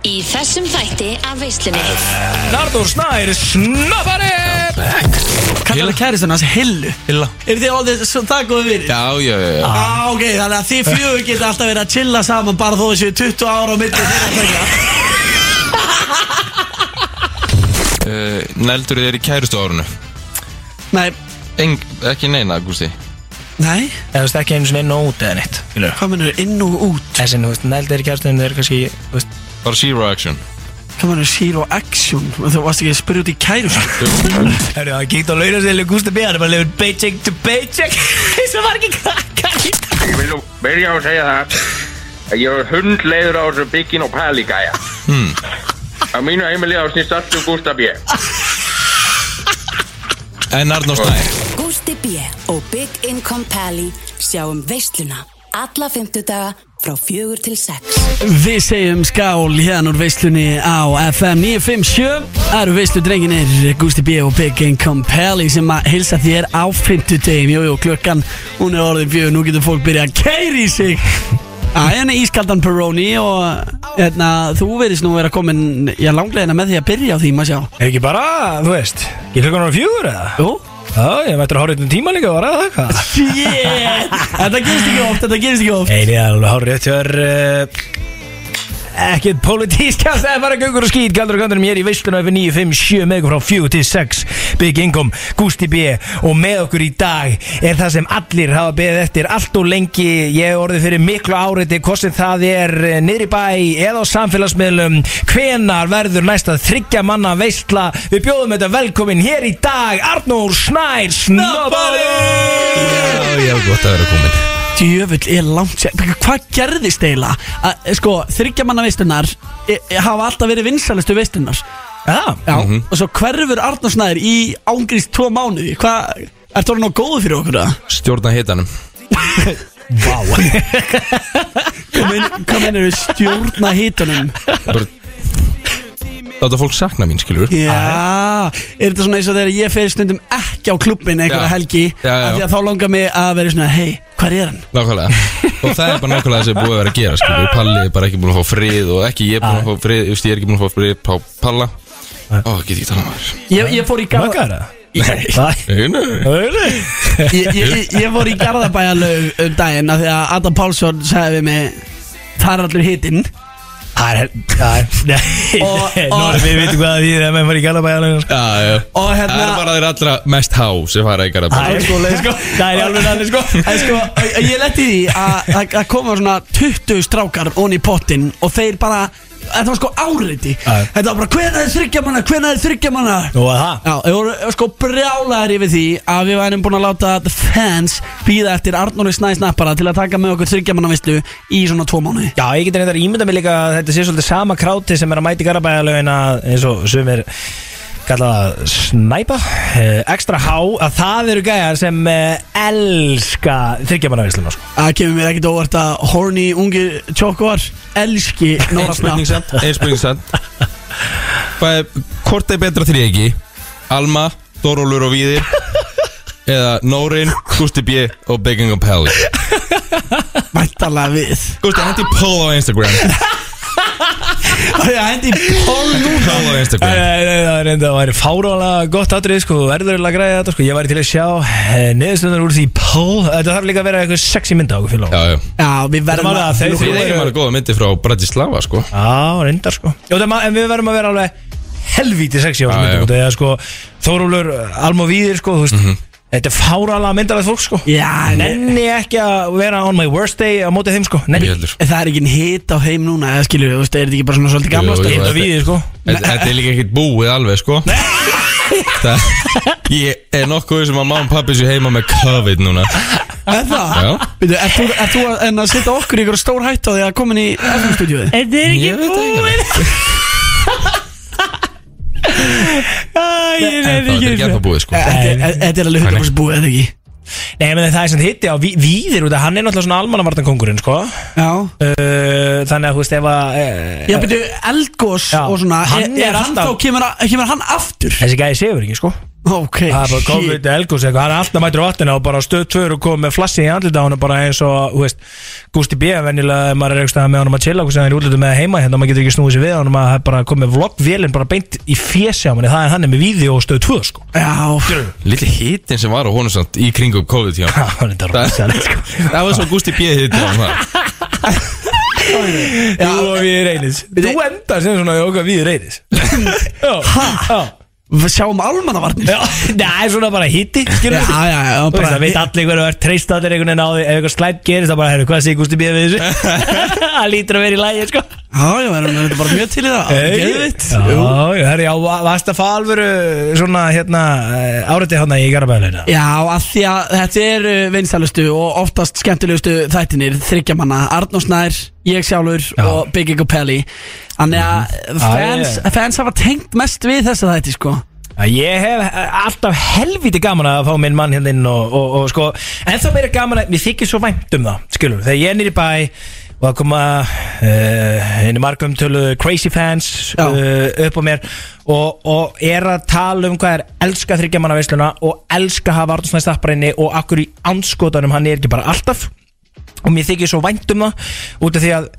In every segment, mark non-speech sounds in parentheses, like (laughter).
Í þessum þætti af veislunni Arnur Snær Snappari Kallar það kæristan hans Hillu Hilla Er þið alveg svo það góði vinir? Já, já, já, já. Á, ok, þannig að þið fjögur geta alltaf verið að chilla saman bara þó þessu 20 ára á milli þeirra tveggja. Uh, Neldur er í kærustu árunu Nei, Eng, Ekki neina, Gústi nei, Eða þú veist ekki einu sinni inn og út eða neitt Skilur hvað mennur inn og út? Þessi, þú veist, nældi er í kjærstuðinu, þeir eru kannski, þú veist Bara zero action Hvað mennur zero action? Þú varst ekki að spyrja út í kærustu Hörru, það gíkt á launasæli Gústa B, hann er bara lefur paycheck to (laughs) paycheck Þessi var ekki krakka í dag Ég vil nú byrja á að segja það að ég er hundleiður á þessu byggin og pæli gæja. Á mínu heimili á snýst allt um Gustaf B. En Arnur Snær Gústi B. og Big Income Pally sjáum veisluna alla fymtudaga frá fjögur til sex. Við segjum skál hérna úr veislunni á FM 957 Það eru veisludraginir Gusti B. og Big Income Pally sem að hilsa þér á 50 degum Jújú, klukkan, hún er orðin fjögur, nú getur fólk byrjað að keiri í sig Æ, henni ískaldan Peroni og hérna, þú verðist nú vera komin já, langlegina með því að byrja á því, maður sjá Er ekki bara, þú veist, ekki klukkan ára fjögur eða? Jú? Já, ég mættur að horfa hérna tíma líka og var að það hvað Yeah! þetta gerist ekki oft, þetta gerist ekki oft Nei, það er alveg hár rétt hjör uh, Ekkert (laughs) pólitískast Það er bara göngur og skýt Galdur og gandur um ég er í veisluna F9, 5, 7 með ykkur frá 4 til 6 Big Income, Gusti B Og með okkur í dag er það sem allir hafa beðið eftir Allt og lengi Ég hef orðið fyrir miklu áriði Hvort sem það er eh, niðri í bæ Eða á samfélagsmiðlum Hvenar verður næsta þryggja manna veisla Við bjóðum þetta velkomin hér í dag Arnór Snær Snobbari Já, já, gott að vera komin Djöfull er langt sér Hvað gerðist eiginlega? Að, Sko, þryggja manna veistunar hafa alltaf verið vinsalistu veistunar Já, Já, og svo hverfur Arnarsnæður í ángrist tvo mánuði Hvað, ertu orðin á góðu fyrir okkur það? Stjórna hitanum vá Hvað mennir við stjórna hitunum? Bara Láta fólk sakna mín, (laughs) skilur Já, er þetta svona eins og þegar ég fer stundum ekki á klubbin einhverja Já. helgi Já, já, af Því já. að þá langar mig að vera svona, hei, hvað er hann? Nákvæmlega Og það er bara nákvæmlega það sem er búið að vera að gera, skilur Palli er bara ekki búin að fá frið Og ekki ég er búin að fá frið Þú veist, ég er ekki búin að fá frið Pá Palla Ó, get ég tala um það Ég, ég fór í garða Mökkara Nei Einu Nei ég, ég, ég- ég fór í Garðabæjarlaug um daginn af því að Adam Pálsson sagði við mig það er allir hitinn Það er, það er, (laughs) nei, Og- nei, og- Nóri, við veitum hvað það þýðir að menn fara í Galabæjarlaugin, sko. Já, já og Það er hérna bara þeir allra mest há sem fara í Það Garabæ er sko leið, sko. Það er alveg þannig, sko. (laughs) En sko, ég- ég leti því að að- að koma svona 20 strákar onni í pottin og þeir bara, þetta var sko áreiti Já. Þetta var bara, hvenær er þryggja manna, hvenær er þryggja manna Nú að það. Já, þeir voru sko brjálaðir yfir því að við værum búin að láta the fans býða eftir Arnóri Snæsnappara til að taka með okkur þryggjamannavislu í svona tvo mánuði Já, ég get reyndar ímynda mig líka að þetta sé svolítið sama kráti sem er að mæta í Garabæjarlaugin að eins og sumir kalla það snæpa, eh, ekstra há, að það eru gæjar sem eh, elska þryggjamannavísluna, sko. Það kemur mér ekkert óvart að horny ungir tjókvar elski Nóra Snapp Einspurningsand Einspurningsand Hvort er betra þér ekki? Alma, Dórólur og Víðir Eða Nórin, Gusti B og Begging og Pelli Væntalega við Gusti, hendi poll á Instagram Það er hendi í pól núna Poll á Nei, Instagram Eh, nei, nei, það er reynda, það væri fárálega gott atrið, sko, verður að græja þetta, sko, ég væri til að sjá neðstundur úr því pól, þetta þarf líka að vera eitthvað sexy mynda á okkur fyrir Já, já Já, við verðum Þetta var það, þeir- Við eigum alveg góða myndi frá Bratislava, sko Já, reyndar sko Já, það, ma- En við verðum að vera alveg helvítið sexy á Já, þessum já. myndum Þegar sko Þórólur, Alma og Víðir sko, þú veist, Mhm. Þetta er fáralega myndarlega fólk sko Já, nei, Nenni ekki að vera on my worst day á mótið þeim sko Nenni Ég heldur það er ekki hit á heim núna eða skilur, þú veist, er þetta ekki bara svona svolítið gamla Jú, jú. stöð Þetta Víðir sko Þetta þetta er líka ekkert búið alveg, sko Það Ég er nokkuð sem að mamma og pappi séu heima með COVID núna Er það? Já. Veitu, er þú, er þú að, en að setja okkur í ykkur stór hætt á því að komin í FM-stúdíuði? Þetta er Ég veit það ekki Æ, En Það er ekki ennþá búið, sko Þetta er alveg 100% búið, eða ekki? Nei, meni, það er sem hitti á Ví- Víðir út af Hann er náttúrulega svona almannavartankongurinn sko Já Uh, Þannig að þú veist ef að Já, uh, byrju, eldgós Já. og svona, Hann er, er er hann alltaf- þá, kemur, að- kemur hann aftur? Þessi gæði segur ekki sko Ok, Það er bara komið shit til Elgús eitthvað, hann er alltaf mætur á vatnina og bara stöð tvör og komið með flassi í andlita á hann bara eins og, þú veist, Gusti B. venjulega ef maður er eitthvað með honum að chilla og sem hann er útlötu með heima hérna, maður getur ekki snúið sér við honum að það er bara komið vloggvélinn bara beint í fjessi á manni, það er hann er með víði og stöð tvö sko. Já, Lilli hitin sem var á honum samt í kringum COVID hjá honum. Það er þetta rosalegt sko. Það var svo Gusti B. hitin á hann Jú og við reynis. Þú endar sem svona okkar við reynis. Hæ? við sjáum almannavarnir Já, (laughs) það er svona bara hitti, skilur Já, já, já, Þú bara- veist, það veit allir hverju er treyst allir einhvern veginn á því Ef eitthvað slæmt gerist, það bara, herru, hvað sé Gusti B. (laughs) við þessu? Það lítur að vera í lægi, sko Já, já, erum við bara mjög til í það Geðvitt Já, já, herru, já, va- varst að fá alvöru svona, hérna, áriði hana í Garabæðulegna Já, af því að þetta er vinsalustu og oftast skemmtilegustu þættinir þryggja manna, Arnór Snær, ég sjálfur og Biggie Capelli Þannig að Mhm. Ah, fans, Já, fans hafa tengt mest við þessa þætti sko Ég hef eh, alltaf helviti gaman að fá minn mann hérna inn og, og, og sko En þá meira gaman að, mér þykir svo vænt um það, skilur Þegar ég er nýri bæ og það koma uh, einu margum tölu crazy fans Já. uh, upp á mér og, og er að tala um hvað er elska þryggjamanna veisluna og elska hafa Arnarsnæði stappræni og akkur í anskotanum hann er ekki bara alltaf og mér þykir svo vænt um það út af því að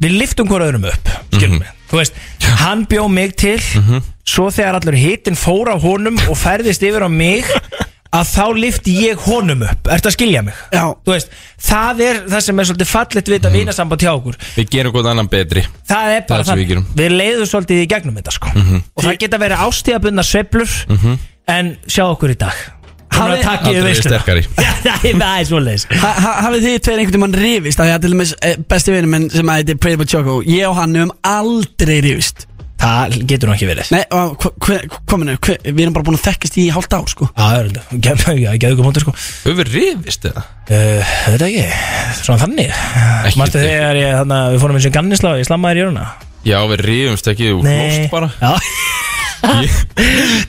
við liftum hver öðrum upp skilum við, þú veist, hann bjó mig til svo þegar allur hittin fór á honum og færðist yfir á mig að þá lifti ég honum upp ertu að skilja mig? Já. Þú veist, það er það sem er svolítið fallit við þetta vinasamband hjá okkur Við gerum hvort annan betri Mhm. það er bara Það er sem það, við gerum. við leiðum svolítið í gegnum þetta sko og það geta verið ástíðabundna sveplur en sjá okkur í dag hann er Mhm. Hafið- að taka Aldrei yfir veisluna. (laughs) sterkari. það er- það er svolítið Ha- ha- Hafið þið tveir einhvern tímann rifist Það er til dæmis eh, besti vinur minn sem að heitir Pretty Boy Choco Ég og hann höfum aldrei rifist það getur nú ekki verið Nei, og hva- hve- kominu, hve- við erum bara búin að þekkast í hálft ár sko Já, það er þetta, já, ég geði ykkur móti sko Höfum við rifist eða? uh, Þetta ekki, svona þannig Mastu ekki. þegar ég, þannig við fórum eins og gannislá Ég slammaði þér í jöruna Já, við rifumst ekki og hlóst bara Já, Ég,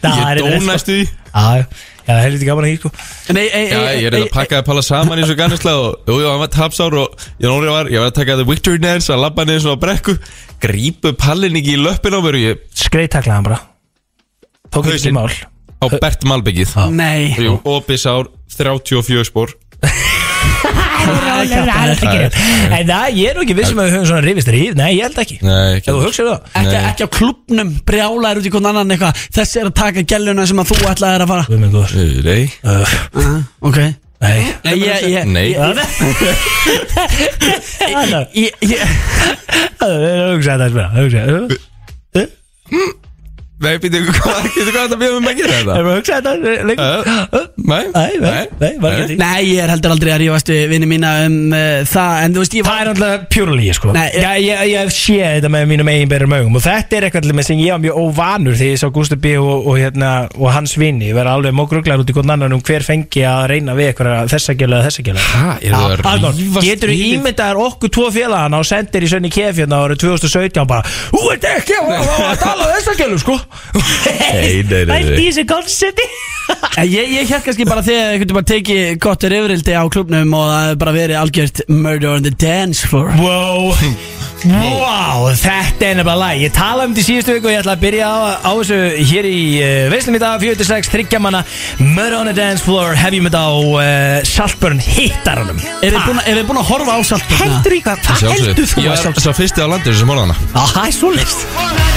það ég er dó þetta, sko. næstu því Já, já, það er lítið gaman að því sko Nei, ei, Já, ég er að eh, pakka að pala saman í svo gannislega og jú, jú, hann var tapsár og ég nóri var, ég var að taka the victory dance að labba niður svona á brekku grípu pallin ekki í löppin á mér og ég Skreittaklaði hann bara Tók ekki Hausinn. í mál á Bert Malbyggið Nei Jú, opið sár, 34 spór En það, ég er nú ekki vissum að við höfum svona rifist ríf Nei, ég held ekki Nei, ekki Ef þú hugsar það ekki, Nei. ekki á klubnum, brjálaður út í hvern annan eitthvað Þessi er að taka gæluna sem að þú ætlaðir að fara Guð minn góður. Eh, Nei, Uh, uh, Ok Nei Nei, ég, ég, nei, ég, ég, Það er hugsað þetta Það er hugsað þetta nei, býttu, hvað getur hvað þetta bjöðum um að gera þetta? Það er hugsað þetta lengur. Eh, Nei, Nei, nei, nei, var ekki Nei, ég er heldur aldrei að rífast við vinni mína um uh, það En þú veist, ég Það er náttúrulega pjúrlíi sko Nei, ég, ég, ég sé þetta með mínum eiginberðum augum Og þetta er eitthvað til með sem ég var mjög óvanur Þegar ég sá Gústa B. Og, og, hérna, og hans vini Verða alveg mókruglar út í hvern annan Um hver fengi að reyna við eitthvað Þessa gæla eða þessa gæla Hæ, eru Ah, það að rífast Getur þú yfir- ímyndaðar okkur tvo félagana Og sendir í sönni kef hérna árið 2017 og Bara, hú veit ekki að- að að tala um þessa gælu sko Nei, nei, nei, nei. Ætti þessi konserti En Ég, ég hér kannski bara þegar einhvern veginn teki gott er yfirildi á klubnum og það hefur bara verið algjört murder on the dance floor Wow Wow, þetta er nefnilega læg Ég talaði um þetta í síðustu viku og ég ætla að byrja á, á þessu hér í uh, veislum í dag 46, þryggja manna Murder on the dance floor, hef ég með þetta á uh, Saltburn hittaranum Er þið búin, er þið búin að horfa á saltbjörna? Heldur í hvað, hvað heldur þú? Ég að var Saltburn- sá fyrsti á landinu sem horfði á hana Á, Það er svo list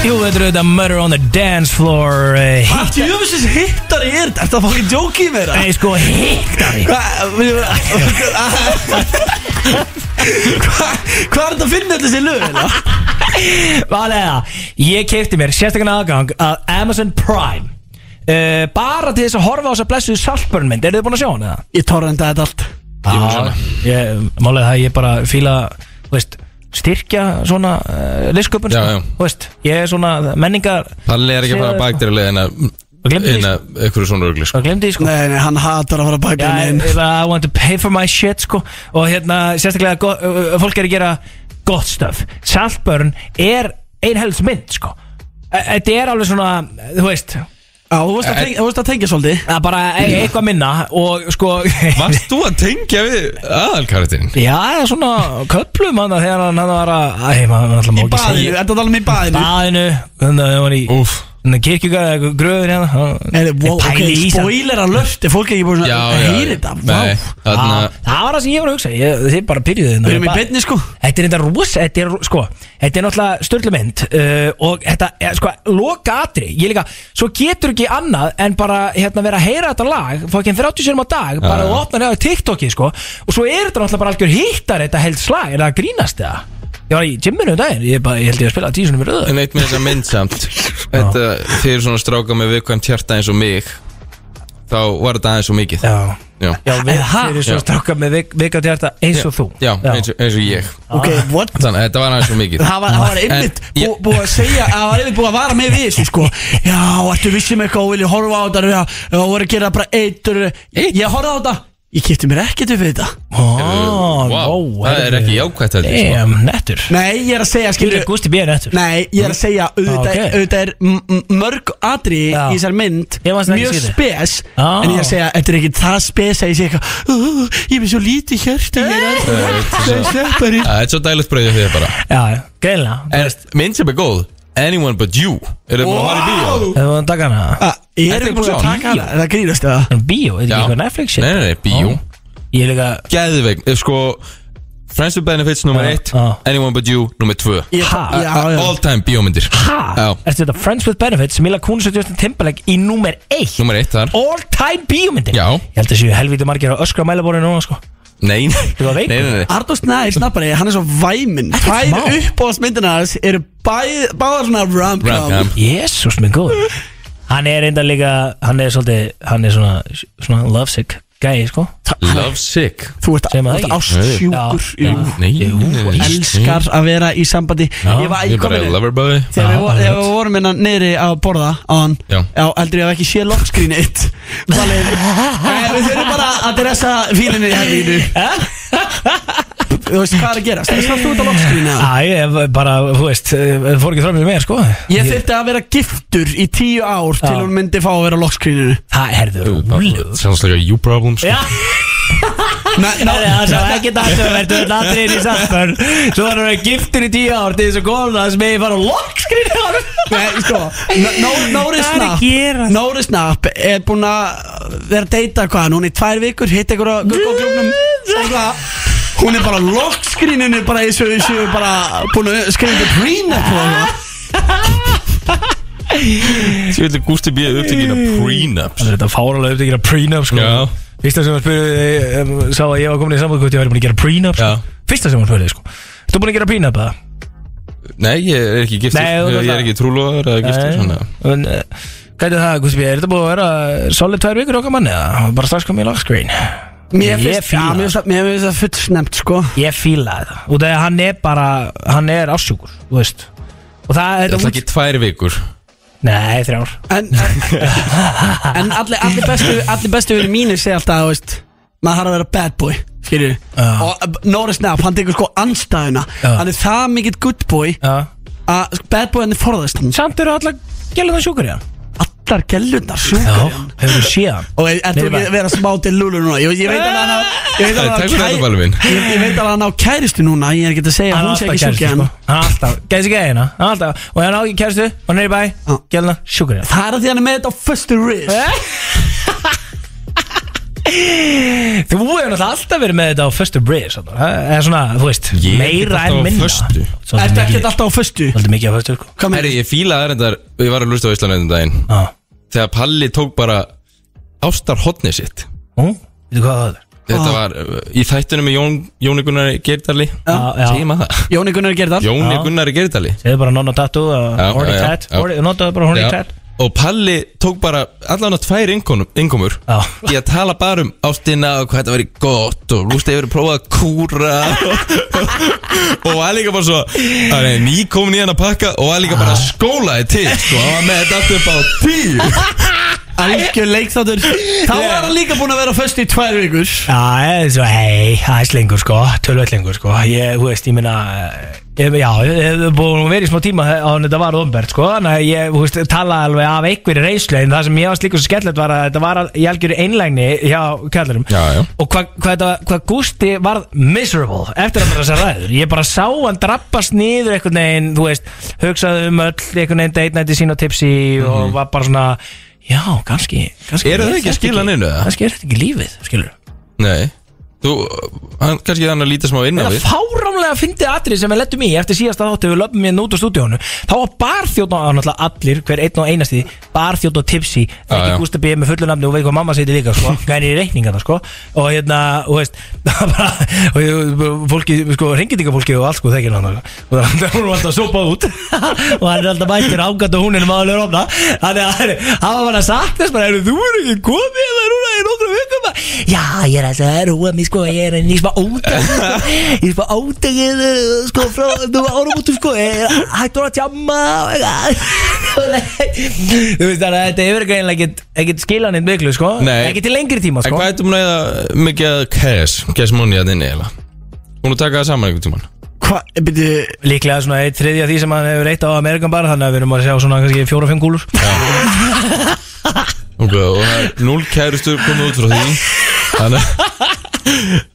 Jú, þetta er þetta Murder on the dance floor uh, hit- Hættu jöfisins hittari er þetta? Ertu að fokkin djóki í mér? Nei, sko, hittari Hvað hva er þetta að finna allir sér lög? eiginlega? Valega, ég keipti mér sérstakann aðgang að Amazon Prime uh, Bara til þess að horfa á þess að blessu Saltburn mynd, eru þið búin að sjá hana það? Ég torrenda þetta allt Já, ég, málega það ég bara fíla þú veist, styrkja svona uh, listsköpun Já, sko. já. Þú veist, ég er svona menningar Palli er ekki að fara Sér- bæktir að leiðina glemdi því, inn að einhverju svona rugli sko. og glemdi því sko Nei, nei, hann hatar að fara að baka Já, henni ég, inn ég bara, I want to pay for my shit sko og hérna sérstaklega go, uh, uh, fólk er að gera gott stöf Saltburn er einhelst mynd sko E- Þetta er alveg svona, þú veist það Já, þú veist að tengja- þú veist að tengja svolítið er bara e eitthvað minna og sko (laughs) Varst þú að tengja við aðalkaratinn? Já, svona köplum hann þegar hann hann var að Æ, maður maður náttúrulega má ekki segja um Í baðinu, þetta er alveg í baðinu Baðinu, þannig að það var í Úf kirkjugæða, gröður hérna hann- Er, wow, Þeir pæli ok, í samt. spoiler alert Er fólk ekki búin Já, að já, heyra þetta? nei, Vá þarna Ah, Það var það sem ég var að hugsa ég, Þið bara pyrjuðu Við erum í beinni sko Þetta er þetta rosa, þetta er, sko, þetta er náttúrulega störlumynd uh, og þetta, er, sko, loka atri, ég líka, svo getur ekki annað en bara, hérna, vera að heyra þetta lag, fokkin 30 sérum á dag, bara Já, þú já. opnar það á TikToki, sko, og svo er þetta náttúrulega bara algjör hittar þetta held slag, er það að grínast það? Ég var í gymminu um daginn, ég, bara, ég held ég að spila tísunum í röðu. En eitt með þessa mynd (laughs) samt Þetta, þið eru svona stráka með viðkvæmt hjarta eins og mig Þá var þetta aðeins og mikið Já, Já, já, við Ha? fyrir svo Já. stráka með vik, vikað hjarta eins og þú. Já, eins, og- eins og ég Ok, what? Þannig að þetta var aðeins og mikið Það var, það var einmitt En bú, ég- búið að segja Það var einmitt búið að vara með við þessu sko Já, ertu vissum eitthvað og vilja horfa á þetta Já, já, voru að gera bara eitur Ég ég horfði á þetta Ég kipti mér ekkert upp við þetta Ó, Vá, Ah, vá, það er ekki herðu. jákvætt heldur sko. Damn, nettur. Nei, ég er að segja Þú skilur er Gusti B. nettur. Nei, ég er að segja Ah, auðvitað, ok. auðvitað er m- m- mörg atri í Já. þessar mynd Ég fannst það ekki mjög skrítið. spes Ah. en ég er að segja, þetta er ekki það spes að ég sé eitthvað, "Ú, ég er með svo lítið hjörti ég er Það Eh, (laughs) er alltaf svo- sleppari Það er svo dælust brauðið þið bara Já, já, greinlega En mynd sem er góð Anyone but you Er það búin að fara í bíó? Ef við taka hana Ah, Ég er Þetta er ekki búin að svona. taka hana, það grínast eða En Bíó, er þetta ekki Já. eitthvað Netflix shit? Nei, nei, nei, bíó Ég er líka Gæðveik, sko Friends with Benefits nummer Já, 1 já. Anyone but you nummer 2 Ég- Ha? já, já. All time bíómyndir Ha? Já. Ertu þetta Friends with Benefits Mila Kunis og Justin Timberlake í númer 1 Númer 1 þar All time bíómyndin Já. Ég held að séu helvítið margir á öskra mælaborinu núna sko Nei, nei, Þú var nei, veikur. nei, nei. Arnór Snær, snappari, hann er svo væminn smá. Tvær uppbóðsmyndina hans eru bæð- báðar svona rom-com Rom-com. Jésús minn góð (laughs) Hann er enda líka Hann er svolítið Hann er svona Svona lovesick gæi sko Love sick Þú ert Segir maður það ekki? ástsjúkur Já, jú. Nei, Jú, nei, nei. Elskar að vera í sambandi Ég var Ég í er bara kominu loverboy Þegar við, Já, vor, alveg þegar við vorum hérna niðri að borða á hann Já. heldur ég að ekki sé lockskrín eitt (laughs) Valið Nei, Við þurfum bara að dressa fílinni í helvínu Þú veist hvað er að gerast Það er slátt út á lockskrín eða? Æ, ef bara, þú veist eh, Fór ekki fram með mér sko Ég þurfti að vera giftur í tíu ár Til Já. hún myndi fá að vera á lockskrininu Það er þau rúlið Sounds like a you problem sko. Já Nei, það sá ekki það sem verður latrið í samför Svo var hann giftur í tíu ár til þess að koma það sem ég fara á lokskrinu Nei, sko Nó- Nóri Hvað er að Snapp gerast? Nóri Snapp er búin að vera að deyta hvað Núna í tvær vikur, hitt ykkur á guggoklubnum Eitthvað Hún er bara lockskrininu bara í þessu Þessu bara búin að skrifa prín eitthvað sko. Ég vil Gústi B. upptökin af prenups Það er þetta fáralega upptökir að prenup sko Já. Fyrsta sem hann spurði um, Sá að ég var komin í samband hvort ég væri búin að gera prenup sko. Já. Fyrsta sem hann spurði sko Þú búin að gera prenup eða? Nei, ég er ekki giftur Nei, þú Ég veist er ekki trúlóður eða giftur svona. En, eh, Hvað er það, Guðsby, er þetta búið að vera solid tvær vikur okkar manni eða? Bara strax komið í lokskrinn Mér finnst fíla það. já, mér finnst það Mér finnst það fullsnemt sko Ég fíla þetta Út af því að hann er bara, hann er ásjúkur, þú veist Og það, Ég ætla þetta ekki tvær vikur Nei, þrjár En, en (laughs) allir, allir bestu Allir bestu vinir mínir segja alltaf þú veist, Maður þarf að vera bad boy Skilju Og eh, Nóri Snapp, hann tekur sko anstæðuna Já. Hann er það mikill good boy Já að sko, bad boy hann er forðast hann Samt eru allar gælunar sjúkur í hann allar gellurnar sjúkar í hann. Hefur þú séð hann? og er er þú Nei, ekki bara- að vera smá til lúlu núna ég, ég veit alveg að hann á- ég veit alveg Það er að takk hann fyrir þetta á balið kæ- minn ég, ég veit alveg að hann á kæristu núna ég er ekki að segja að Hann hún er sé alltaf ekki kæristu sko sjúkja hann Hann er alltaf, gæðis ekki eina Hann er alltaf, og hann á ekki kæristu Og hann er í bæ, Já. gælunar sjúkur í hann það er að því hann er með þetta á fyrstu ris Eh? Þú hefur náttúrulega alltaf verið með þetta á föstu bris Eða svona, þú veist, Ég er meira en alltaf á minna föstu. Svolítið ertu ekki mikið- alltaf á fyrstu Svolítið mikið á föstu sko hvað með Herri, ég fíla það reyndar Ég var að lusta á Íslandu daginn Já. Þegar Palli tók bara ástar hotni sitt Ú, veitu hvað það er? Þetta Ah. var uh, í þættunum með Jón, Jóni Gunnari Gerdali Já, já Segjum að það Jóni Gunnar Gerdal Jóni Já. Gunnari Gerdali Segðu bara nonna tattoo Já, og horny já, já, cat já. Horny- Notaðu bara horny Já. cat Og Palli tók bara allan á tvær innkonum- innkomur Já. Í að tala bara um ástina og hvað þetta væri gott Og Rústi hefur prófað að kúra Og var líka bara svo Það er ný komin í hann að pakka Og var líka bara að skóla þið til Sko, hann var með þetta allt upp á tíu algjör leikþáttur þá var hann líka búin að vera á fyrstu í tvær vikur eh, Já, það er svo, hei, það er slengur sko, tölvöld lengur sko Ég, þú veist, ég minna Ég, já, ég hefði búin að vera í smá tíma á hann þetta var umbert, sko, þannig að ég þú veist, talaði alveg af einhverju reyslu en það sem ég varst líka svo skellilegt var að þetta var al- í algjöru einlægni hjá kallurum Já, já. og hvað hva, hva, hva Gusti varð miserable eftir að bara þessa ræður ég bara sá hann drabbast niður einhvern veginn, þú veist, hugsaði um öll einhvern veginn date night í sín og tipsi og var bara svona, já, kannski, kannski Mhm. Eru þau ekki að þetta skila hann inn, eða? Kannski er þetta ekki lífið, skilur Nei Þú, hann, kannski hann að líta smá inn á Það við er fáramlega fyndið atrið sem við lettum í eftir síðasta þáttu við löpum hérna út úr stúdíónu þá var barþjóðn á náttúrulega allir hver einn og einasti barþjóðn og tipsi það er Já, já. ekki Gústa B. með fullu nafni og veit hvað mamma seti líka (laughs) sko gæni í reikninga það sko og hérna og veist (laughs) það var bara og ég- fólki sko ringindíka fólki og allt sko þekkir hann og það hún var alltaf að sopa út (laughs) og hann er alltaf mættir ágætt og hún er maður lögur ofna þannig að hann- hann var bara að sakna þess bara "Heyrðu, þú er ekki komið það er hún að í nokkra vikum bara, já ég er að það er hún að mér sko ég er enn í smá ódæg ég er smá ódæg sko frá nú árum út sko ég er hættur að tjamma og eitthvað." þú veist þannig að þetta hefur greinlega ekkert- ekkert skilaninn miklu sko Nei. ekki til lengri tíma En sko hvað heitum hún eða mikið að cash Cash money að inni eða Hún er takað það saman einhvern tímann Hvað, byrju Líklega svona eitt þriðja því sem hann hefur eitt á Amerikan bara Þannig að við erum að sjá svona kannski fjóra-fimm kúlur Ok, og það er núl kærustur komið út frá því Þannig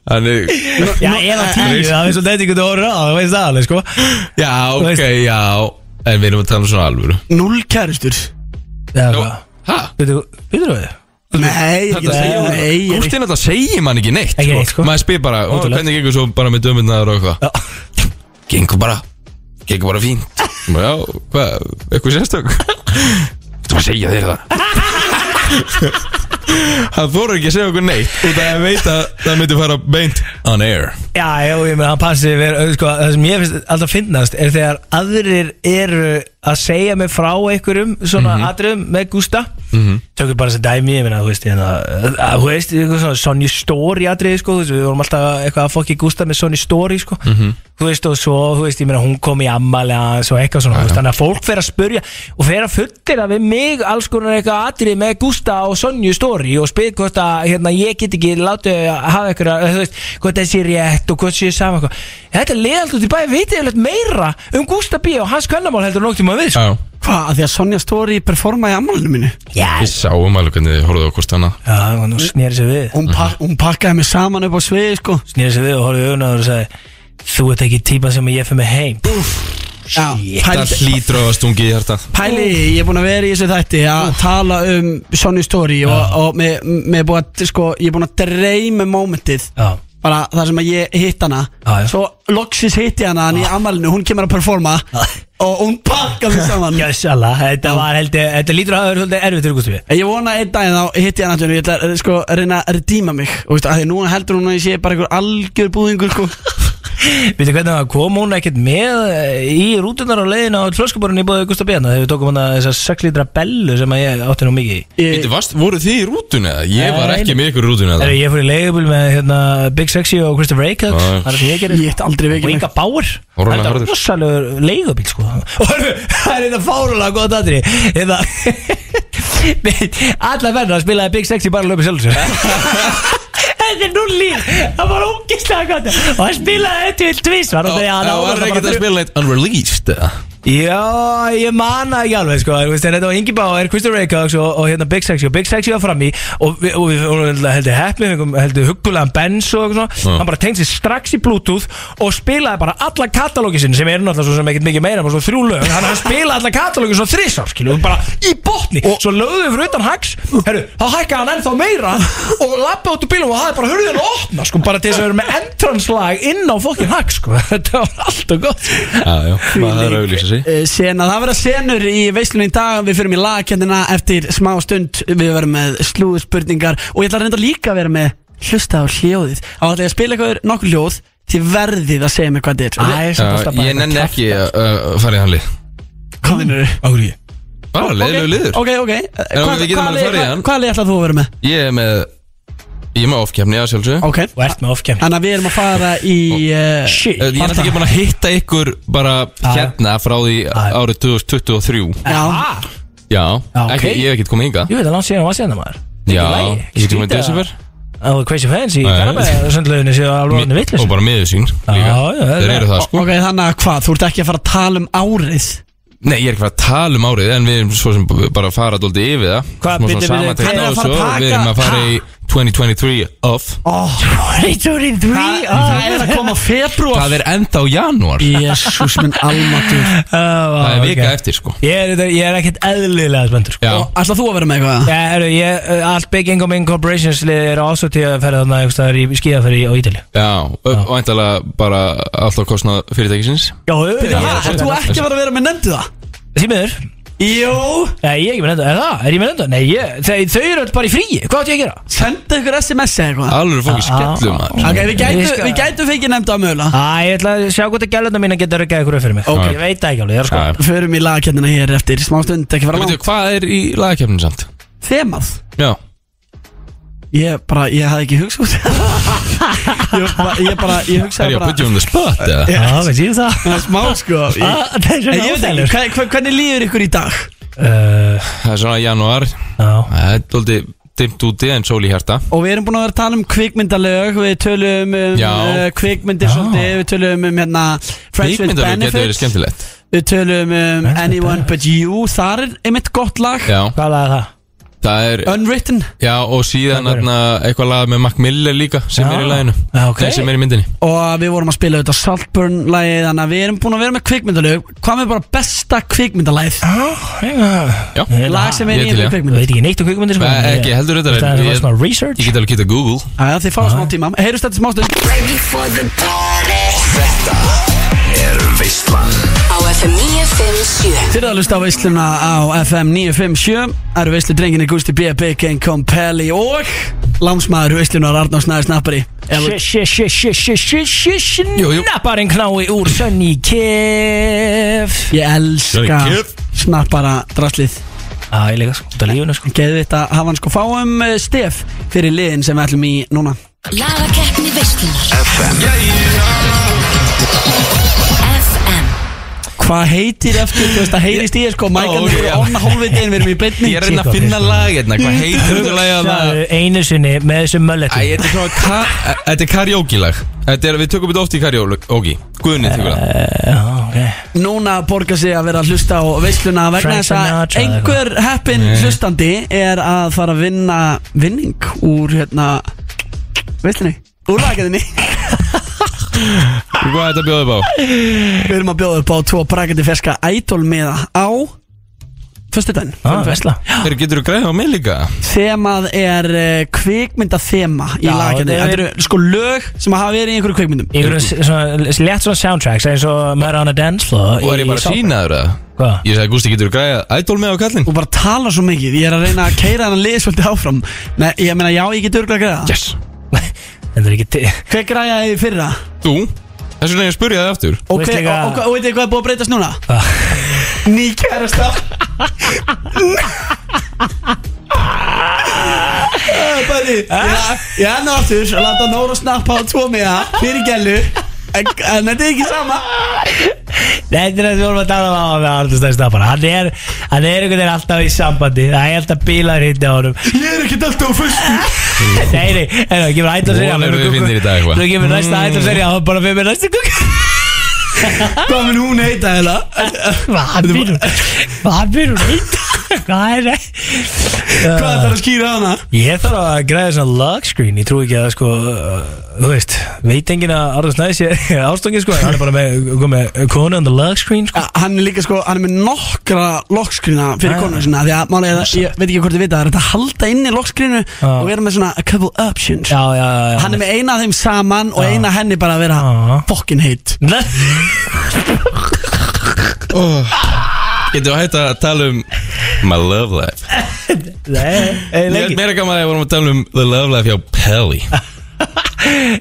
Þannig Já, eða tíu, veist- það er svona þetta ykkur orður á Það veist það alveg, sko Já, Þú ok, veist- já En við erum að tala um svona alvöru Null kærustur Já, hvað Hæ? Veitu, veitur við? Nei, ég get Þetta að segja Nei, ég er Gústinn þetta segir mann ekki neitt Ekki neitt, sko. Maður spyr bara, "Ó, Ótrúlegt. hvernig gengur svo bara með dömurnar og eitthvað Já, Gengur bara, gengur bara fínt Bara, Já, hvað, eitthvað sérstök Þú að segja þér það Hann þóra ekki að segja okkur neitt Út af að ég veit að það myndi fara beint on air já, já, ég meina, hann passi við, sko, Það sem ég finnst alltaf finnast er þegar aðrir eru að segja mig frá einhverjum svona atriðum með Gústa Tökum bara þessi dæmi, ég meina, þú veist, hérna, að, þú veist, eitthvað svona Sonny Story atriði, sko, þú veist, við vorum alltaf eitthvað að fokki Gústa með Sonny Story, sko Þú veist, og svo, þú veist, ég meina, hún kom í ammali aðeins og eitthvað svona, þú veist, þannig að fólk fer að spurja og fer að fullera við mig alls konar eitthvað atrið með Gústa og Sonju Story og spyr hvort að, hérna, ég get ekki látið að hafa eitthvað, þú veist, hvort það sé rétt og hvort sé sama eitthvað Þetta leið alltaf til bæði vitið yfirleitt meira um Gústa B. og hans kvennamál heldur nokt í maður við, sko Já, Hvað, að því að Sonja Story performaði ammálinu mínu Já, við sáum alveg hvernig þið horfðu okkur stanna Já, og nú snýri sér við Mhm. Hún, pa hún pakkaði mig saman upp á sviði, sko Snýri sér við og horfði augun á þér og sagði Þú ert ekki típa sem ég fyrir mig heim Já, Það pæli, hlýtur á að stungi í hjarta pæli ég er búin að vera í þessu þætti að tala um Sonja Story og, og með, með búin að, sko, ég er búin að dreyma momentið Já. bara þar sem að ég hitt hana Já, Ah. já. svo loksins hitti hana hann í ammálinu, hún kemur að performa og hún pakkaði (laughs) mig saman Gjössala, þetta var heldur, þetta lítur að hafa verið svolítið erfitt fyrir Gústa B. En Ég vona einn daginn þá hitti ég hann aftur og ég ætla að, sko, að reyna að redíma mig og veistu, að því núna heldur hún að ég sé bara einhver algjör búðingur sko. Veitu hvernig það kom hún ekkert með eh, í rútunar á leiðin á flöskuborun í bóði Gustaf Bjarnar þegar við tókum hann að þessa 6 litra bellu sem að ég átti nú mikið í ég, Veitu, varst- Voruð þið í rútunni eða? Ég var Nei. ekki með ykkur í rútunni Þegar eða ég fór í leigubíl með hérna, Big Sexy og Christopher Aikert Já. Það er sem ég gerir ég hitt aldrei Og vekið mig Inga Bauer Og Ronald Þetta er Harður. rosalegur leigubíl sko (laughs) Og hörru, það er þetta fárulega gott aðri (laughs) Þetta Alla verðar spilaði Big Sexy bara löpum sjálfsög (laughs) Þetta er núlí Það var ógislega gott Og hann spilaði þetta til tvísvar og Það þegar hann ávarpar var bara ekki að þrjú- spila neitt unreleased eða? Já, ég man það ekki alveg sko þú veist, en Þetta var Ingi Bauer, Kristján Reykjavíks og, og hérna Big Sexy og Big Sexy var fram í og við og við vorum heldur heldur heppni heldur huggulegan Benz og eitthvað svona Já. hann bara tengdi sig strax í Bluetooth og spilaði bara alla katalógi sinni sem er náttúrulega svo sem ekkert mikið meira bara svo þrjú lög hann hann spilaði alla katalógi svo þrísar skilu bara í botni svo lögðu við fyrir utan hags herru, þá hækkaði hann ennþá meira og lappa út úr bílum og hafði bara hurðið hann opna sko bara til þess að vera með entrance-lag inn á fokkin hags sko (laughs) þetta var alltaf gott Já, já, maður þarf að auglýsa sig Eh, Sena, það verða senur í veislunni í dag Við fyrir í lagkendina eftir smá stund Við verðum með slúðspurningar Og ég ætla að reynda líka að vera með hlusta á hljóðið Á ætla ég að spila eitthvað nokkur hljóð Þið verðið að segja mér hvað þetta er Æ, samt alltaf Já, bara Ég nenni ekki að uh, fara í hann lið Hvað vinnur þið? Águr ég Bara leiðilegu liður Ok, ok Eh, hvað- við getum hvað alveg farið í lið- hann. Hvað lið ætlað þú að vera með? Ég er með Ég er með ofkjæmni að sjálfsög Ok, Og ert með ofkjæmi þannig að við erum að fara í Oh. uh, Ah, Shit Ég er náttúrulega ekki búin að hitta ykkur bara hérna frá því árið 2023 Já, Ah, Já, Já, ok. ekki, ég hef ekkert komið hinga ég veit að langt síðan var síðan það maður Já, lagi, ég hef komið skrítið í desember All the crazy fans í Nei. Garabæði Söndlöðinu séu alveg alveg vitlis Og bara miður sín líka Já, já, Þeir það- eru það sko Ok, þannig að hvað, þú ert ekki að fara að tala um árið Nei, ég er ekki að fara að tala um árið En við erum svo sem bara að fara dóldi yfir það Hvað, Smá byrju, svona byrju, samantekt hann er að á fara að þessu og Við taka- erum að fara í 2023 off oh, það, það er að koma februar Það er enda á janúar Jésús minn almatur Það Ah, Það er vika eftir sko Ah, Ég er, þetta- ég er ekkert eðlilega spenntur sko. Já, Og ætla þú að vera með eitthvað? Já, heru, ég, uh, allt Big Income Incorporations liðið er ásvo til að ferða þarna einhverstaðar í skíðaferði á Ítali já Ah. Og endala bara alltaf kostnað fyrirtækisins Já, auðvitað Ha, ég- ert þú ekki að fara að vera með nefndu það? Því miður Jó Nei, ég er ekki með nefnda, er það? Er ég með nefnda? Nei, ég, þau, þau eru öll bara í fríi, hvað átt ég að gera? Senda ykkur SMS eða eitthvað Alveg fólki Já. skellum maður Ah, Ok, við gætum, Ég skal- við gætum fengið nefndu að mögulega Æ, ég ætla að sjá hvort að gæluna mína geta rökkað ykkur upp fyrir mig Ok. Ég veit það ekki alveg, ég er að sko Já. Förum í lagakennina hér eftir smá stund, ekki fara En veitu, langt Hvað er í lagakefninu samt? Þemað Já Ég bara, ég hafði ekki hugsað út Ég bara, ég bara, ég Er hugsaði ég að bara putja um the spot eða? Já, veit ég það Það er smá sko Ég, Ah, Það er En svona ég veit ekki, óþægilegur. hva- hva- hvernig líður ykkur í dag? Uh, Það er svona janúar Já, Það er dóldi dimmt úti en sól í hjarta Og við erum búin að vera að tala um kvikmyndalög Við tölum um Já. uh, kvikmyndir svolítið Við tölum um hérna Friends with Líkmyndalög getur verið Benefits skemmtilegt Við tölum um with Anyone But You Þar er einmitt gott lag Já, hvað laði það? það er Unwritten Já, og síðan Það er- þarna, eitthvað lag með Mac Miller líka sem Já. er í laginu Já, Ah, ok. Nei, sem er í myndinni Og við vorum að spila auðvitað Saltburn lagið Þannig að við erum búin að vera með kvikmyndalög Hvað með bara besta kvikmyndalagið? Já, Já hérna. Lag sem Ég er er í til einhverju í það. Ég Ah. kvikmyndalög veit ekki neitt um kvikmyndir sko. Nei, Ég- ekki, heldur þetta Í staðinn fyrir Ég- smá research. Ég get alveg getað Google Jæja, Þið fá smá tíma Heyrjumst þetta smá stund Á FM 957 Þið eru að hlusta á veisluna á FM 957 Það eru veislu drenginni Gusti B. Bacon, Compelli og Lámsmaður veislunar Arnárs Næður Snappari Eða- Jú, jú. Snapparinn knái úr Sunny Kef Ég elska Sorry, kid. Snappara draslið Já, ég líka sko, út af lífinu sko Geðið þetta hafa hann sko fáum eh, stef Fyrir liðin sem við ætlum í núna Lagakeppni veislunar FM Hvað heitir eftir, þú veist að heyrist í þér sko Mækan, Ó, við erum já. onna hálfveitin, við erum í beinni Ég er að reyna að finna lag hérna Hvað heitir þetta lag að Sjáðu, Einu sinni með þessum Æ, mölletum þetta er svona ka- Þetta er karaoke lag Þetta er, við tökum þetta oft í karaoke Guðni tekur það Já, ok Núna borgar sig að vera að hlusta á veisluna vegna Frank þess að Sinatra eða einhver heppin hlustandi er að fara að vinna vinning úr hérna veislunni, úr lagaðinni Hvað er þetta bjóðið bá? Við erum að bjóða upp á tvo brakandi ferska idol meða á Föstudaginn Já, veistla Þeir getur þú græðið á mig líka? Þemað er uh, kvikmynda þema í Já, lagaðinni þetta er- Þetta eru sko lög sem hafa verið í einhverju kvikmyndum Ég verður svona, létt svona soundtracks eins og maður on a dance floor Og er ég bara sínaður það? Hvað? Ég sagði, Gústi, getur þú græðið Idol með á kallinn? og bara tala svo mikið Ég er að reyna að keira hann að liða svolítið áfram Nei, ég meina já, ég get örgulega að greiða Yes En það er ekki til Hver græjaði í fyrra? Þú? Þessu vegna ég spurja það aftur Og, veist hver, líka- og, og, og veitir hvað er búið að breytast núna? Hvað? Ný kærasta Æ, Bæði Ég er nú aftur að láta Nóra snappa á tvo með það Fyrir gælu En en þetta er ekki sama Nei, þetta er það sem við vorum að tala um á með Arnur Stæði Staffara Hann er, hann er einhvern veginn alltaf í sambandi Það er alltaf bílar hindi á honum Ég er ekki alltaf á fyrstu Nei, nei, hérna, það gefur ætla serið Vonar við finnir í dag eitthvað. Þú gefur næsta ætla serið Það er bara fyrir mér næsta kukk Hvað mun hún heita heila? Hvað býr hún? Hvað býr hún? heita? Hvað er það? Hvað þarf að skýra hana? Ég þarf að græða svona lock screen Ég trúi ekki að sko uh, Þú veist, veit enginn að Arður Snæðis ég ástungin sko en Hann er bara með, með konu on the lock screen sko. Ja, Hann er líka sko, hann er með nokkra lokskrýna fyrir Já. konu sinna Því að málega, ég, ég veit ekki hvort þið vita, það er þetta að halda inn í lokskrýnu Og vera með svona a couple options Já, já, já, já Hann er með eina af þeim saman og eina henni bara Já. að vera fokkin heitt Getur þú hægt að tala um My love life Nei, ei, Ég lengi er meira gaman að ég vorum að tala um The love life hjá Pelli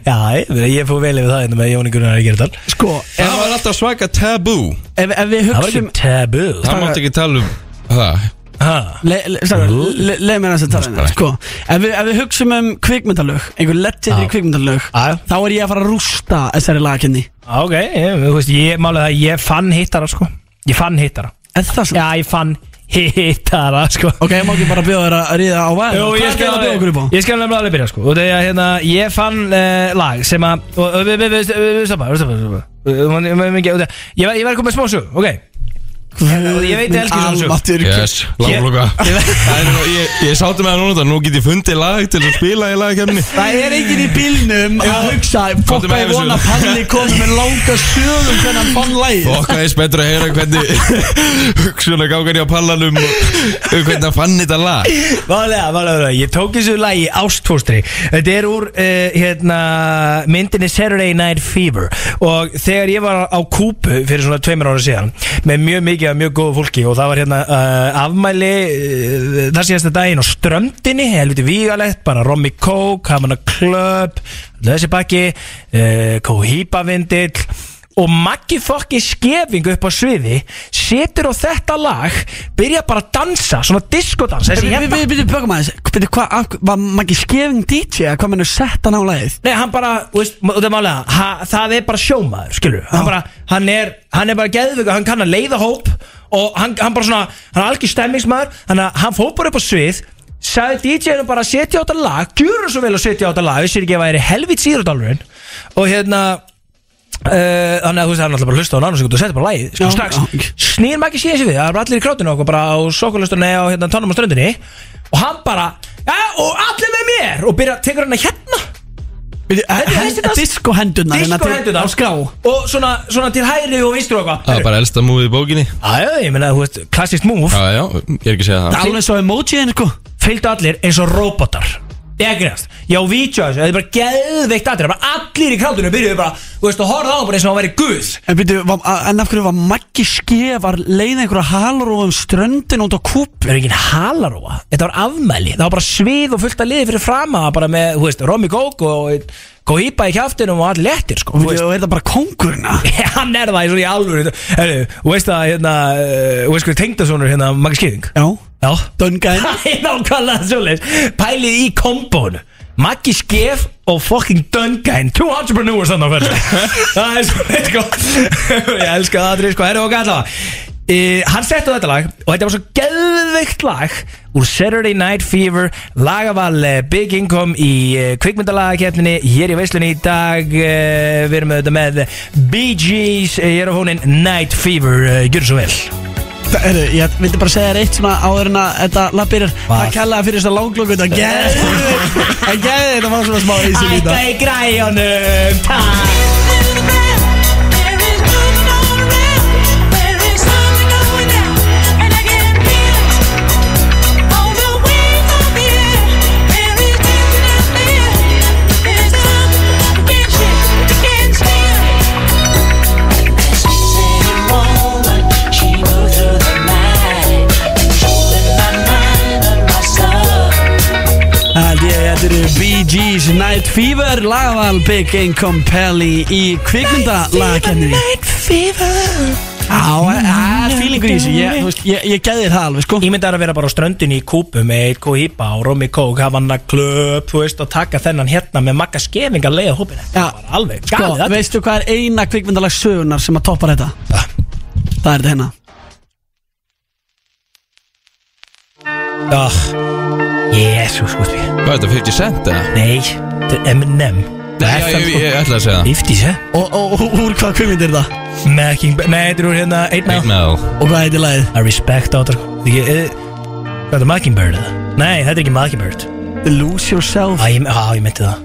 Já, ég, ég fór vel yfir það hérna með Jóni Gunnar Egertal Sko, ef, Það var alltaf svaka tabú ef, ef við Það var ekki hugsum tabu Það mátti ekki tala um það Ha, Leð le, strákar, le, le, mér þess að tala hérna sko, ef, við, ef við hugsum um kvikmyndalög Einhver legendary Já. kvikmyndalög Já. Þá er ég að fara að rústa þessari lagkenni Ok, ég, þú veist, ég málið það Ég fann hittara sko Ég fann hittara Er það svona? Já, ég fann hittara sko Ok, ég má ekki bara bjóða þér að ríða á væðina Jú, ég Hvað er það að skal, bjóða okkur upp á? ég skal nefnilega alveg byrja sko og þegar hérna, ég fann uh, lag sem að og- og við- við- við- við- við stoppa, við stoppa, við stoppa. Við- við- við- við- við- við- ég var- ég var komið smá sög, ok ég veit ég elski svona sög Almatur Yes, lágloka Ég, ég sátti með það núna þetta, nú get ég fundið lag til að spila í lagakefni Það er enginn í bílnum að hugsa Fokk Komdu með að ég vona að yfirsögu. Palli komi með langa um sögum hvernig hann fann lægið Fokka eins betur að heyra (laughs) hvernig hugsunar gákan ég á pallanum og og hvernig hann fann þetta lag Válega, válega, válega, ég tók þessu lagi ástfóstri Þetta er úr uh, hérna, myndinni Saturday Night Fever Og þegar ég var á Kúpu fyrir svona tveimur ára síðan Með mjög mikið af mjög góðu fólki Og það var hérna uh, afmæli uh, þar síðasta daginn á ströndinni Helviti vígalegt, bara Romy Coke, Hamana Club Þessi bakki, uh, Kóhípa vindill og Maggi fokkin skefing upp á sviði setur á þetta lag byrja bara að dansa, svona diskodans þessi Við hérna, byrjum bökum aðeins Byrjum hvað, af- var Maggi Skeving DJ að hvað mennur sett hann á lægið? nei hann bara þú veist, ma- það, er málega, ha, það er bara sjómaður skilur, hann, bara, hann, er, hann er bara geðvöku, hann kann að leiða hóp og hann, hann bara svona, hann er algjör stemmingsmaður hann, hann fór bara upp á svið sagði DJ-num bara að setja á þetta lag gjur svo vel að setja á þetta lag, þessi er ekki að væri helvit síðardálurinn og hérna Uh, þannig að þú veist það er náttúrulega bara að hlusta á nánu og setja bara lagið, sko Já, strax já. snýr maður ekki síðan sér við, það er bara allir í krátinu okkur bara á sokkulustunni og hérna tónum á ströndinni og hann bara, ja og allir með mér og byrja, tekur hann að hérna Disko hendunar disko hendurna hérna Á ská og svona, svona til hægri og vinstri og eitthvað Það er bara elsta múið í bókinni aðja, ég meina, þú veist, klassist move Já, já, ég er ekki að segja það Alveg svo emojiðin sko fylgdu allir eins og robotar ég grefst, já, vítja þessu, þetta er bara geðveikt aðrið, bara allir í krátinu byrjuðu bara, þú veist, og horfðu á hann bara eins og hann væri guð En, byrju, var, en af hverju var Maggi Skeving Var leið einhverja halarófum ströndin út á kúp Það er enginn halaróa, þetta var afmæli Það var bara svið og fullt að liði fyrir frama Bara með, þú veist, Romy Kók og Kóípa í kjaftinum og allir léttir sko, Og þú veist. (laughs) byrju, er það bara kongurna? Hann er það í svona í alvöru Heru, Þú veist að, hérna, eh, þú veist hver tengdasonur hérna, Maggi Skýðing Já Já Döngaðin Það er nákvæmlega svoleiðis Pælið í kombón Maggi Skef og fucking Dungain Two entrepreneurs þannig á ferð Það er svo sko (laughs) Ég elska það aðrið sko Erum við gæla e, Hann settu þetta lag Og þetta var svo geðveikt lag Úr Saturday Night Fever Lagaval eh, Big Income Í eh, kvikmyndalagakeppninni Hér í veislunni í dag e, Við erum auðvitað með Bee Gees eh, Ég er á hónin Night Fever e, Gjör svo vel Heru, ég vildi bara segja þér eitt svona áður en að þetta lappir er Hvað? að kella fyrir þess að langlokku þetta gerði það gerði þetta var svona smá eins í þetta Ætta í græjunum Takk Það er þetta eru Bee Gees Night Fever lagval Big Income Pelli í kvikmyndalagkenni Night fever á, það er fílingur í þessu ég, þú veist, ég, ég geði þér það alveg sko Ímyndar að vera bara á ströndinni í kúpu með eitt kóhípa og Romy Kók hafa hann að klöp þú veist og taka þennan hérna með makka skefinga leiða hópina Já. Það var alveg sko, galið þetta veistu hvað er eina kvikmyndalag sögunar sem að toppar þetta það er þetta hérna Já Jésu sko því Hvað er þetta, 50 cent eða? Nei, þetta er Eminem sko Nei, já, ég, ég, ég ætla að segja það 50 se og, og, og úr hvað kvikmynd er þetta Making Nei, þetta er úr hérna Eight Eitt Mile með og hvað heitir lagið I respect á þetta sko Því ég Hvað er Mockingbird eða? Nei, þetta er ekki Mockingbird Lose Yourself Á, ég, á, ég myndi það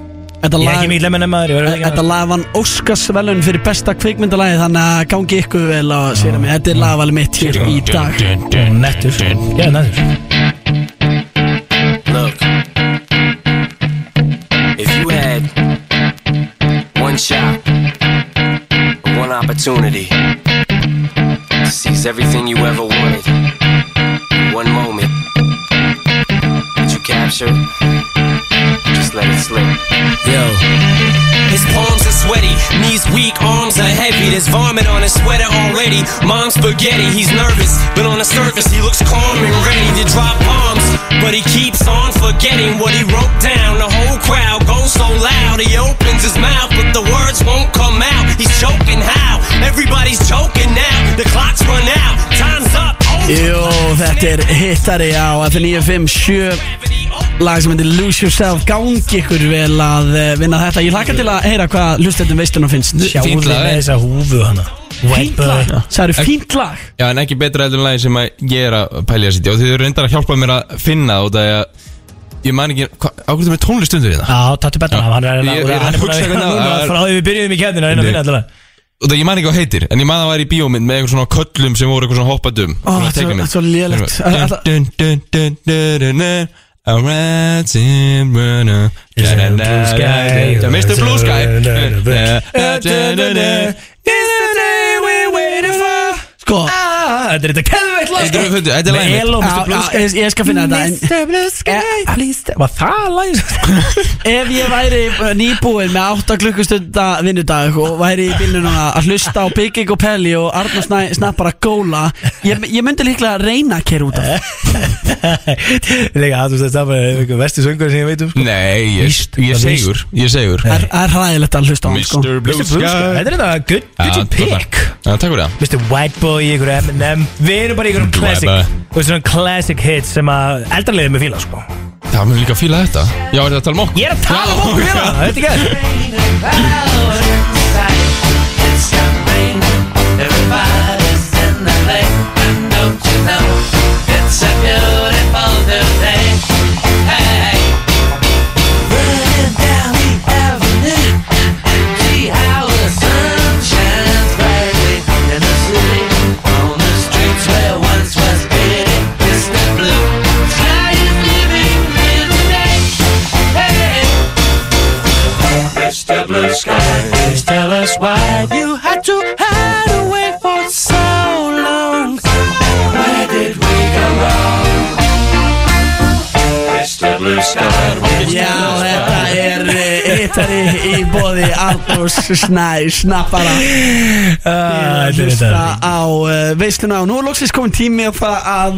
Ég þetta er lag ekki mýl Eminem maður ég verð ekki að- Þetta lag vann Óskarsvelun fyrir besta kvikmyndalagi þannig að gangi ykkur vel og segja mig Þetta er lagvali mitt hér í dag það Nettur Já, nettur Look, if you had one shot, one opportunity to seize everything you ever wanted, in one moment that you captured, just let it slip. Yo. His palms are sweaty, knees weak, arms are heavy. There's vomit on his sweater already. Mom's spaghetti, he's nervous, but on the surface he looks calm and ready to drop bombs. But he keeps on forgetting what he wrote down. The whole crowd goes so loud, he opens his mouth, but the words won't come out. He's choking how? Everybody's choking now. The clock's run out, time's up. over. Jó, og þetta er hittari á F957 lag sem heitir Lose Yourself gangi ykkur vel að eh, vinna þetta ég hlakka til að heyra hvað hlustendum veistlunum finnst Sjáum Fínt við lag, eh? með en- þessa húfu hana White fínt lag Bird það eru fínt lag Já, en ekki betra heldur en lagi sem að ég er að pælja að sitja og þið eru reyndar að hjálpa mér að finna og það er að ég man ekki, ákveður með tónlist undir þetta Já, tattu betra Já. Hann er að- Ég- ég er að hann er búin hugsa hérna að hvernig núna það- Frá því við byrjuðum í keppnina hérna Einn að finna alltaf og það ég man ekki hvað heitir, en ég man að það var í bíómynd með eitthvað svona köllum sem voru eitthvað svona hoppadum Ó, þetta er- þetta er svo lélegt. lélegt A red simrunner Is it a blue sky? Ja, Mr. Blue Sky It's the day we waited for sko Ah, Þetta er þetta keðveitt lag sko. Þetta er- þetta er lagið mitt. Hello Mr. á- Blue á- Sky ég- ég skal finna þetta en Blue Eh, please stay- Var það sko? (laughs) lag? Ef ég væri eh, nýbúinn með 8 klukkustunda vinnudag og væri í bílnum núna að hlusta á Bygging og Pelli og Arnar Snæ, Snæ bara góla ég, ég myndi líklega að reyna að kera út af það. Lega, þú veist það er einhver vestu söngur sem ég veit um sko. Nei, ég, Víst, ég það er víst. segur, ég segur Það er- það er hræðilegt að hlusta á hann sko Mr. Blue Mr. Blue Sky Sky Þetta er þetta good, Já, good pick Já, takk fyrir það Mr. White Boy, ykkur M&M Við erum bara ykkur um classic White Þú veist svona classic hits sem að eldarliðið með fíla sko Það mun líka að fíla þetta Já, er þetta að tala um okkur? Ég er að tala um okkur hérna, þetta er gæð Já, þetta er eh, hittari í bóði Arnars Snæ Snappara Ah, að Þetta er hlusta þetta á uh, veisluna og nú er loksins komin tími að fara að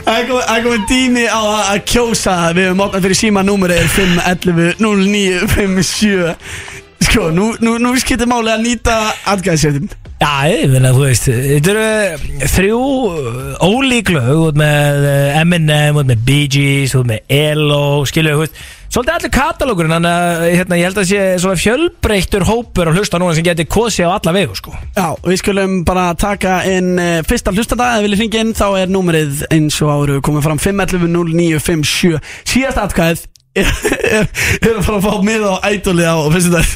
Það er komin- það er komin tími á að að kjósa Við höfum opnað fyrir síma númerið 511-0957 Sko, nú, nú, nú skiptir máli að nýta atkvæðisréttin Já, ég finna að þú veist Þetta eru eh, þrjú eh, ólík lög Þú ert með eh, Eminem, þú ert með Bee Gees Þú ert með ELO, skilju þú veist Svolítið allir katalógurinn Þannig að hérna, ég held að sé svona fjölbreyttur hópur að hlusta núna sem geti kosið á alla vegu (laughs) sko. Já, við skulum bara taka inn uh, fyrsta hlustanda, ef við viljum hringja inn þá er númerið eins og áru komið fram 511-0957 síðast atkvæð er, er, er að fara að fá miða á ædoli á fyrstu (laughs) dag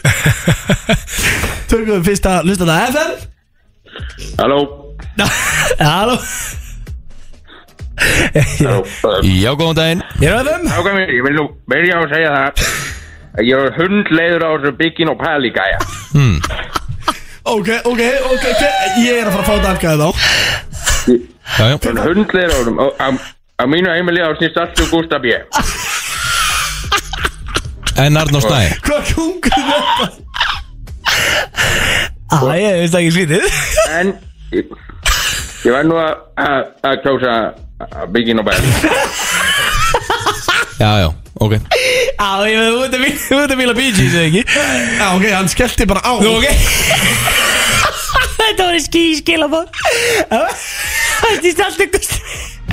Tökum við fyrsta hlustanda FM Halló Halló Halló uh, Já, góðan daginn Ég er öðum nákvæmlega, Ég vil nú byrja á að segja það að Ég er hundleiður á þessu byggin og pæligæja Ok, ok, ok, ok, ég er að fara að fá þetta atkvæð þá Já, já En hundleiður á þessum á- á- Á mínu heimili á snýst allt um Gustaf B. En Arnór Snæ Hvað kungur þetta? Æ, ég veist ekki (laughs) slítið En ég, ég var nú að- að að kjósa byggin og pæligæja Já, já, ok Já, ég veist, þú ert að fíla- þú ert að fíla Bee Gees, eða ekki Já, ok, hann skellti bara á Nú, ok Þetta voru skískilabóð Þetta er allt ykkur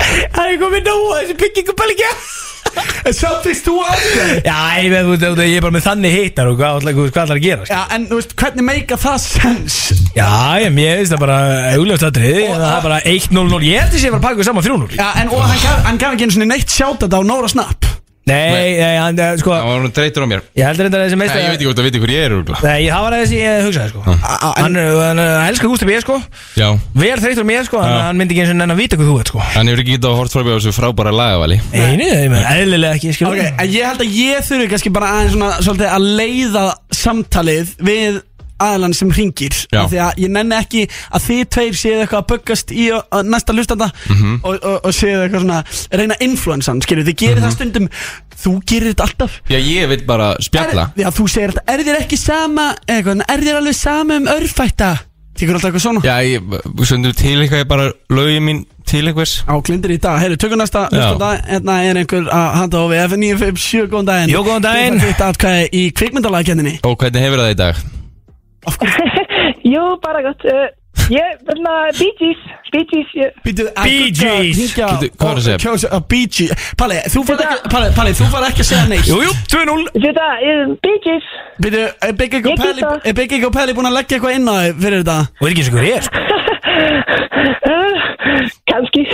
Það er komið nóg að þessi byggingu bælgja En samt veist þú atkvæð Já, ég veit, þú veist, ég er bara með þannig hittar og hvað ætlar hvað ætlar að gera sko. Já, en þú veist, hvernig meika það sens? Já, ég mér veist það bara augljóft aðrið Það er bara 1-0-0 Ég held að sé bara að pakka við saman 3-0 Já, en og hann gaf, hann gaf ekki einu svona neitt sjáta á Nóra Snapp Nei, nei, hann, eh, sko Það var hún treytur á mér Ég heldur þetta að þessi meist Nei, ég veit ekki hvort að veit hver ég er úrgla Nei, það var að þessi ég hugsaði sko á, en- Hann, er- hann er- hann elskar Gústa B, sko Já Vel þreytur mér, sko Hann Já. hann myndi ekki eins og nennan vita hvað þú ert, sko Hann hefur ekki getað að hort frábæða þessu frábæra lagavali Einu, ég meina, eðlilega ekki, skilur Ok, en ég held að ég þurfi kannski bara aðeins svona svolítið að leiða samtalið við aðlan sem ringir Já. Af Því að ég nenni ekki að þið tveir séu eitthvað að buggast í ö- ö- næsta hlustanda og, og, og séu eitthvað svona reyna influensan, skilju, þið gerir það stundum þú gerir þetta alltaf Já, ég vil bara spjalla Já, þú segir þetta, er þér ekki sama eitthvað, er þér alveg sama um örfætta Tekur alltaf eitthvað svona Já, ég sundur til eitthvað Ég bara lögi mín til eitthvers Á glindir í dag, heyrðu, tökum næsta Já. hlustanda Hérna er einhver að handa á við F957, góðan daginn Jó, góðan daginn. Þú fætt atkvæði í kvikmyndalagkendinni Og hvernig hefur það í dag? Jú, bara gott. Uh, Ég, þarna, Bee Gees, Bee Gees, ég, Býtu, að Bee Gugga Gees. hringja Býtu, hvað er að og segja? Kjósa að Bee Gees Palli, þú fær ekki, Palli, Palli, þú fær ekki að segja neitt Jú, jú, 2-0 þetta, ég, Bee Gees, Býtu, er Big Egg og Ég get Palli það. Er Big Egg og Palli búin að leggja eitthvað inn á þig fyrir þetta? Og er ekki eins og hver er, sko uh, kannski,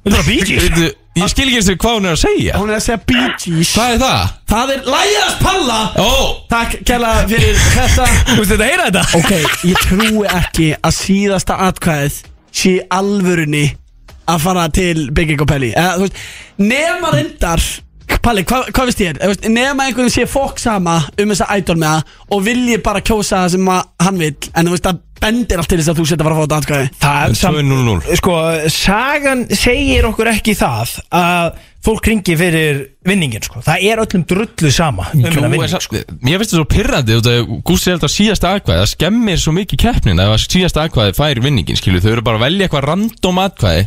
Þetta er að Bee Gees Veitu, Ég skil ekki eins og hvað hún er að segja Hún er að segja Bee Gees Hvað er það? Það er Læjas Palla Ó, Takk kæla fyrir þetta Þú veist þetta að heyra þetta? Ok, ég trúi ekki að síðasta atkvæðið sé í alvörunni að fara til Big Egg og Palli Eða, þú veist, Nema reyndar Palli, hva, hvað veist ég er? Eða, þú veist, Nema einhvern sé fólk sama um þessa idol með það og vilji bara kjósa það sem að hann vil en þú veist, það bendir allt til þess að þú setja bara að fá þetta atkvæði Það samt, 2-0-0 sko, sagan segir okkur ekki það að fólk ringi fyrir vinningin, sko Það er öllum drullu sama um Jú, hennar en vinning, samt- Mér finnst það svo pyrrandi út að Gústi held að síðasta atkvæði það skemmir svo mikið keppnin að síðasta atkvæði fær vinningin skilur þau eru bara að velja eitthvað random atkvæði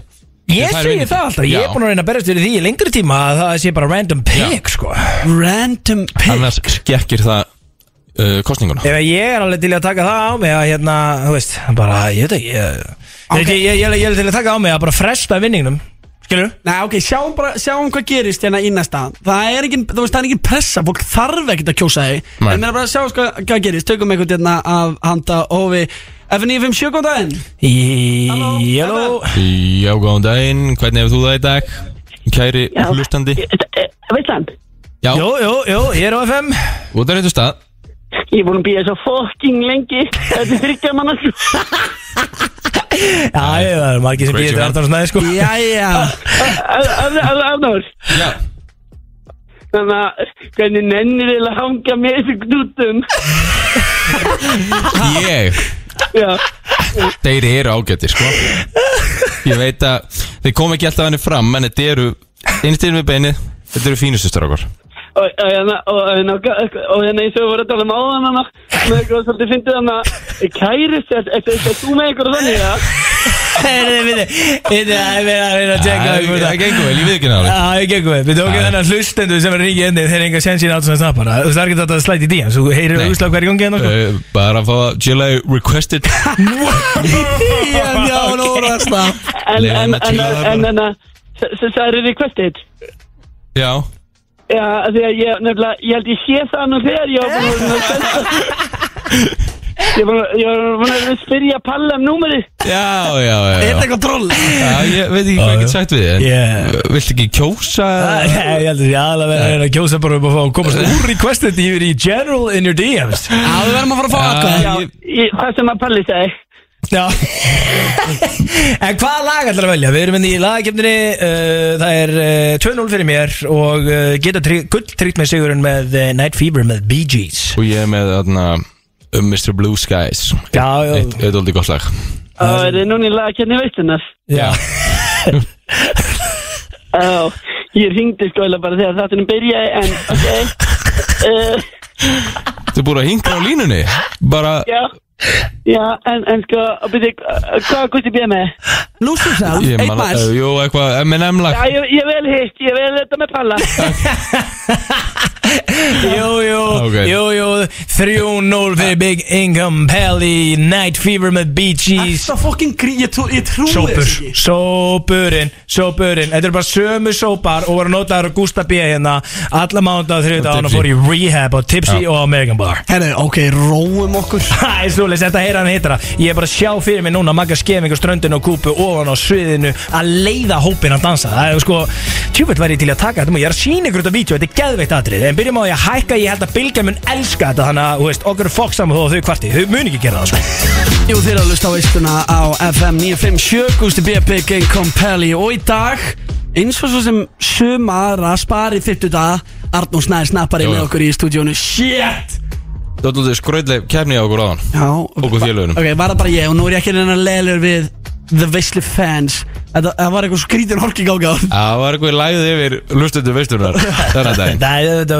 Ég Það er segi vinningin. það alltaf, ég Já. er búin að reyna að berjast fyrir því í lengri tíma að það sé bara random pick, sko Ef Random pick annars skekkir það uh, kostninguna að ég er alveg til í að taka það á mig að hérna, þú veist, bara, ég veit ekki Ég, ég, ég, ég, ég, ég er til í að taka á mig að bara fresta vinningnum, skilur Nei, ok, sjáum bara, sjáum hvað gerist hérna í næsta Það er ekki, þú veist, það er ekki pressa Fólk þarf ekkert að kjósa þig En Nei. mér er bara að sjá sko, hvað gerist Tökum einhvern hérna af handa Óvi F957, góðan daginn Í- Halló Já, góðan daginn, hvernig hefur þú það í dag? Kæri já, hlustandi Þetta, eh, Veistland, Já, Jú, jú, jú, ég er á FM út af réttu stað ég er búin að býja svo fucking lengi, þetta er þryggja manna, sko. Já, ég það er margir sem Crazy býðir til man. Arnarsnæði, sko Jæja Afnáður, Já, þannig að, hvernig nennir þið að hanga með þessu knútum, ég já, Þeir eru ágættir, sko Ég veit að þeir kom ekki alltaf henni fram En þetta eru, innstýrðum við beinið Þetta eru fínustustur okkar og og hérna, og hérna, og hérna, eins og við vorum að tala um áðan hana, með eitthvað svolítið fyndið hana, kærist, þetta er þú með eitthvað þannig, já, Heyrðu, við- við- við- Það er verið að tjekka Það það gengur vel, ég við ekki náður Já, ég gekk við, við tókum Já. þennan hlustendur sem er ringið inni þeir enga sensin átt svona snappara Þú veist, það er ekki þetta að slæti í díjan, þú heyrir Nei. auðvitað hverju gangið hennar, Uh, bara að fá að Jilla requested Já, já, nú voru það slapp en, Leyfðu en, henni að en, tíla það en, bara. en, en, það er requested. Já, Já, af því að ég, nefnilega, ég held ég sé það nú þegar ég var búin að Ég var, ég var búin að spyrja Palla um númeri já, Er já, já, þetta já. eitthvað troll? já Ég veit ekki hvað ég get sagt við þið en Yeah. uh, Viltu ekki kjósa? sko Nei, Ég held að ég aðlega verið að reyna að kjósa bara um að fá að komast úr requested yfir í general in your DMs Já, við verðum að fara að fá atkvæði Já, ég- Ég- Það sem að Palli segi Já En hvaða lag ætlar að velja? Við erum inn í lagakefninni uh, Það er uh, 2-0 fyrir mér og uh, geta tri- gull tryggt með sigurinn með uh, Night Fever með Bee Gees Og ég er með þarna um Mr. Blue Skies Já, já. Eitt eitt oldi gott lag Það er þið núna í lagakjarni veitlunar Já, Já, ég ringdi sko eða bara þegar þáttunum byrjaði en ok uh, Þú búið að hinga á línunni Bara, Já, já en, en sko, byrja, hvað gústi býða með? Lúsum sem, ég eitt man mæl uh, Jú, eitthvað M&M lag Já, ég, ég vel hitt, ég vel þetta með Palla jú, jú, Ok. jú, jú 3-0 fyrir Big Income Pally, Night Fever með Bee Gees Það fokkin grí, ég, trú, ég trúi þess Sópur, ekki sópurinn, sópurinn Þetta eru bara sömu sópar og voru notaður á Gústa B. hérna Alla mánda og þriðut Og án og Tipsy. fór í Rehab og Tipsy Já. og American Bar Herru, ok, róum okkur Það er svolítið, þetta heyra hann hitra Ég er bara að sjá fyrir mig núna Magga Skefing og Ströndin og Kúpu ofan á sviðinu að leiða hópin að dansa Það er sko, tjúfitt væri ég til í að taka þetta múið Ég er að sína ykkur þetta vídeo, þetta er geðveikt atrið En byrjum á því að hækka, ég held að Bilgja mun elska þetta Þannig að, þú veist, okkur er fokk saman þó að þau kvarti Þau mun ekki gera það, sko Jú, þeir eru að lusta á veistuna á FM 957, Gusti B.P. Gang Compelli og í dag, eins og svo sem sumara spari 50 dag, Arnó Snær snappari Jú, jú. með okkur í stúdíónu Shit! Þú ætlum þú skröðlega kefni á okkur áðan Já, Okkur félögunum ok, var það bara ég og nú er ég ekki reyna leilur við The Veistli fans Þetta- Það var eitthvað skrítin horking ágáð Það var eitthvað læðið yfir lustundu veisturnar Þennan daginn (laughs) (laughs) Það er þetta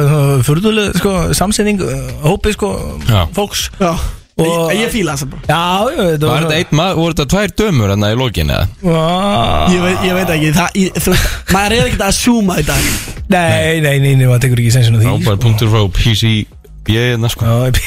fyrðuleg, sko, samsending Hópi, sko, Já. fólks Já, Og- ég, ég fíla þess að bara Já, já, þetta Var þetta einn maður, voru þetta tvær dömur hann í lokin eða? Já. Ég veit, ég veit ekki, það, ég, þú veist, maður er ekkert að súma í dag Nei, nei, nei, nei, maður tekur ekki sensin á því Rápar punktur frá PC Ég er sko Já,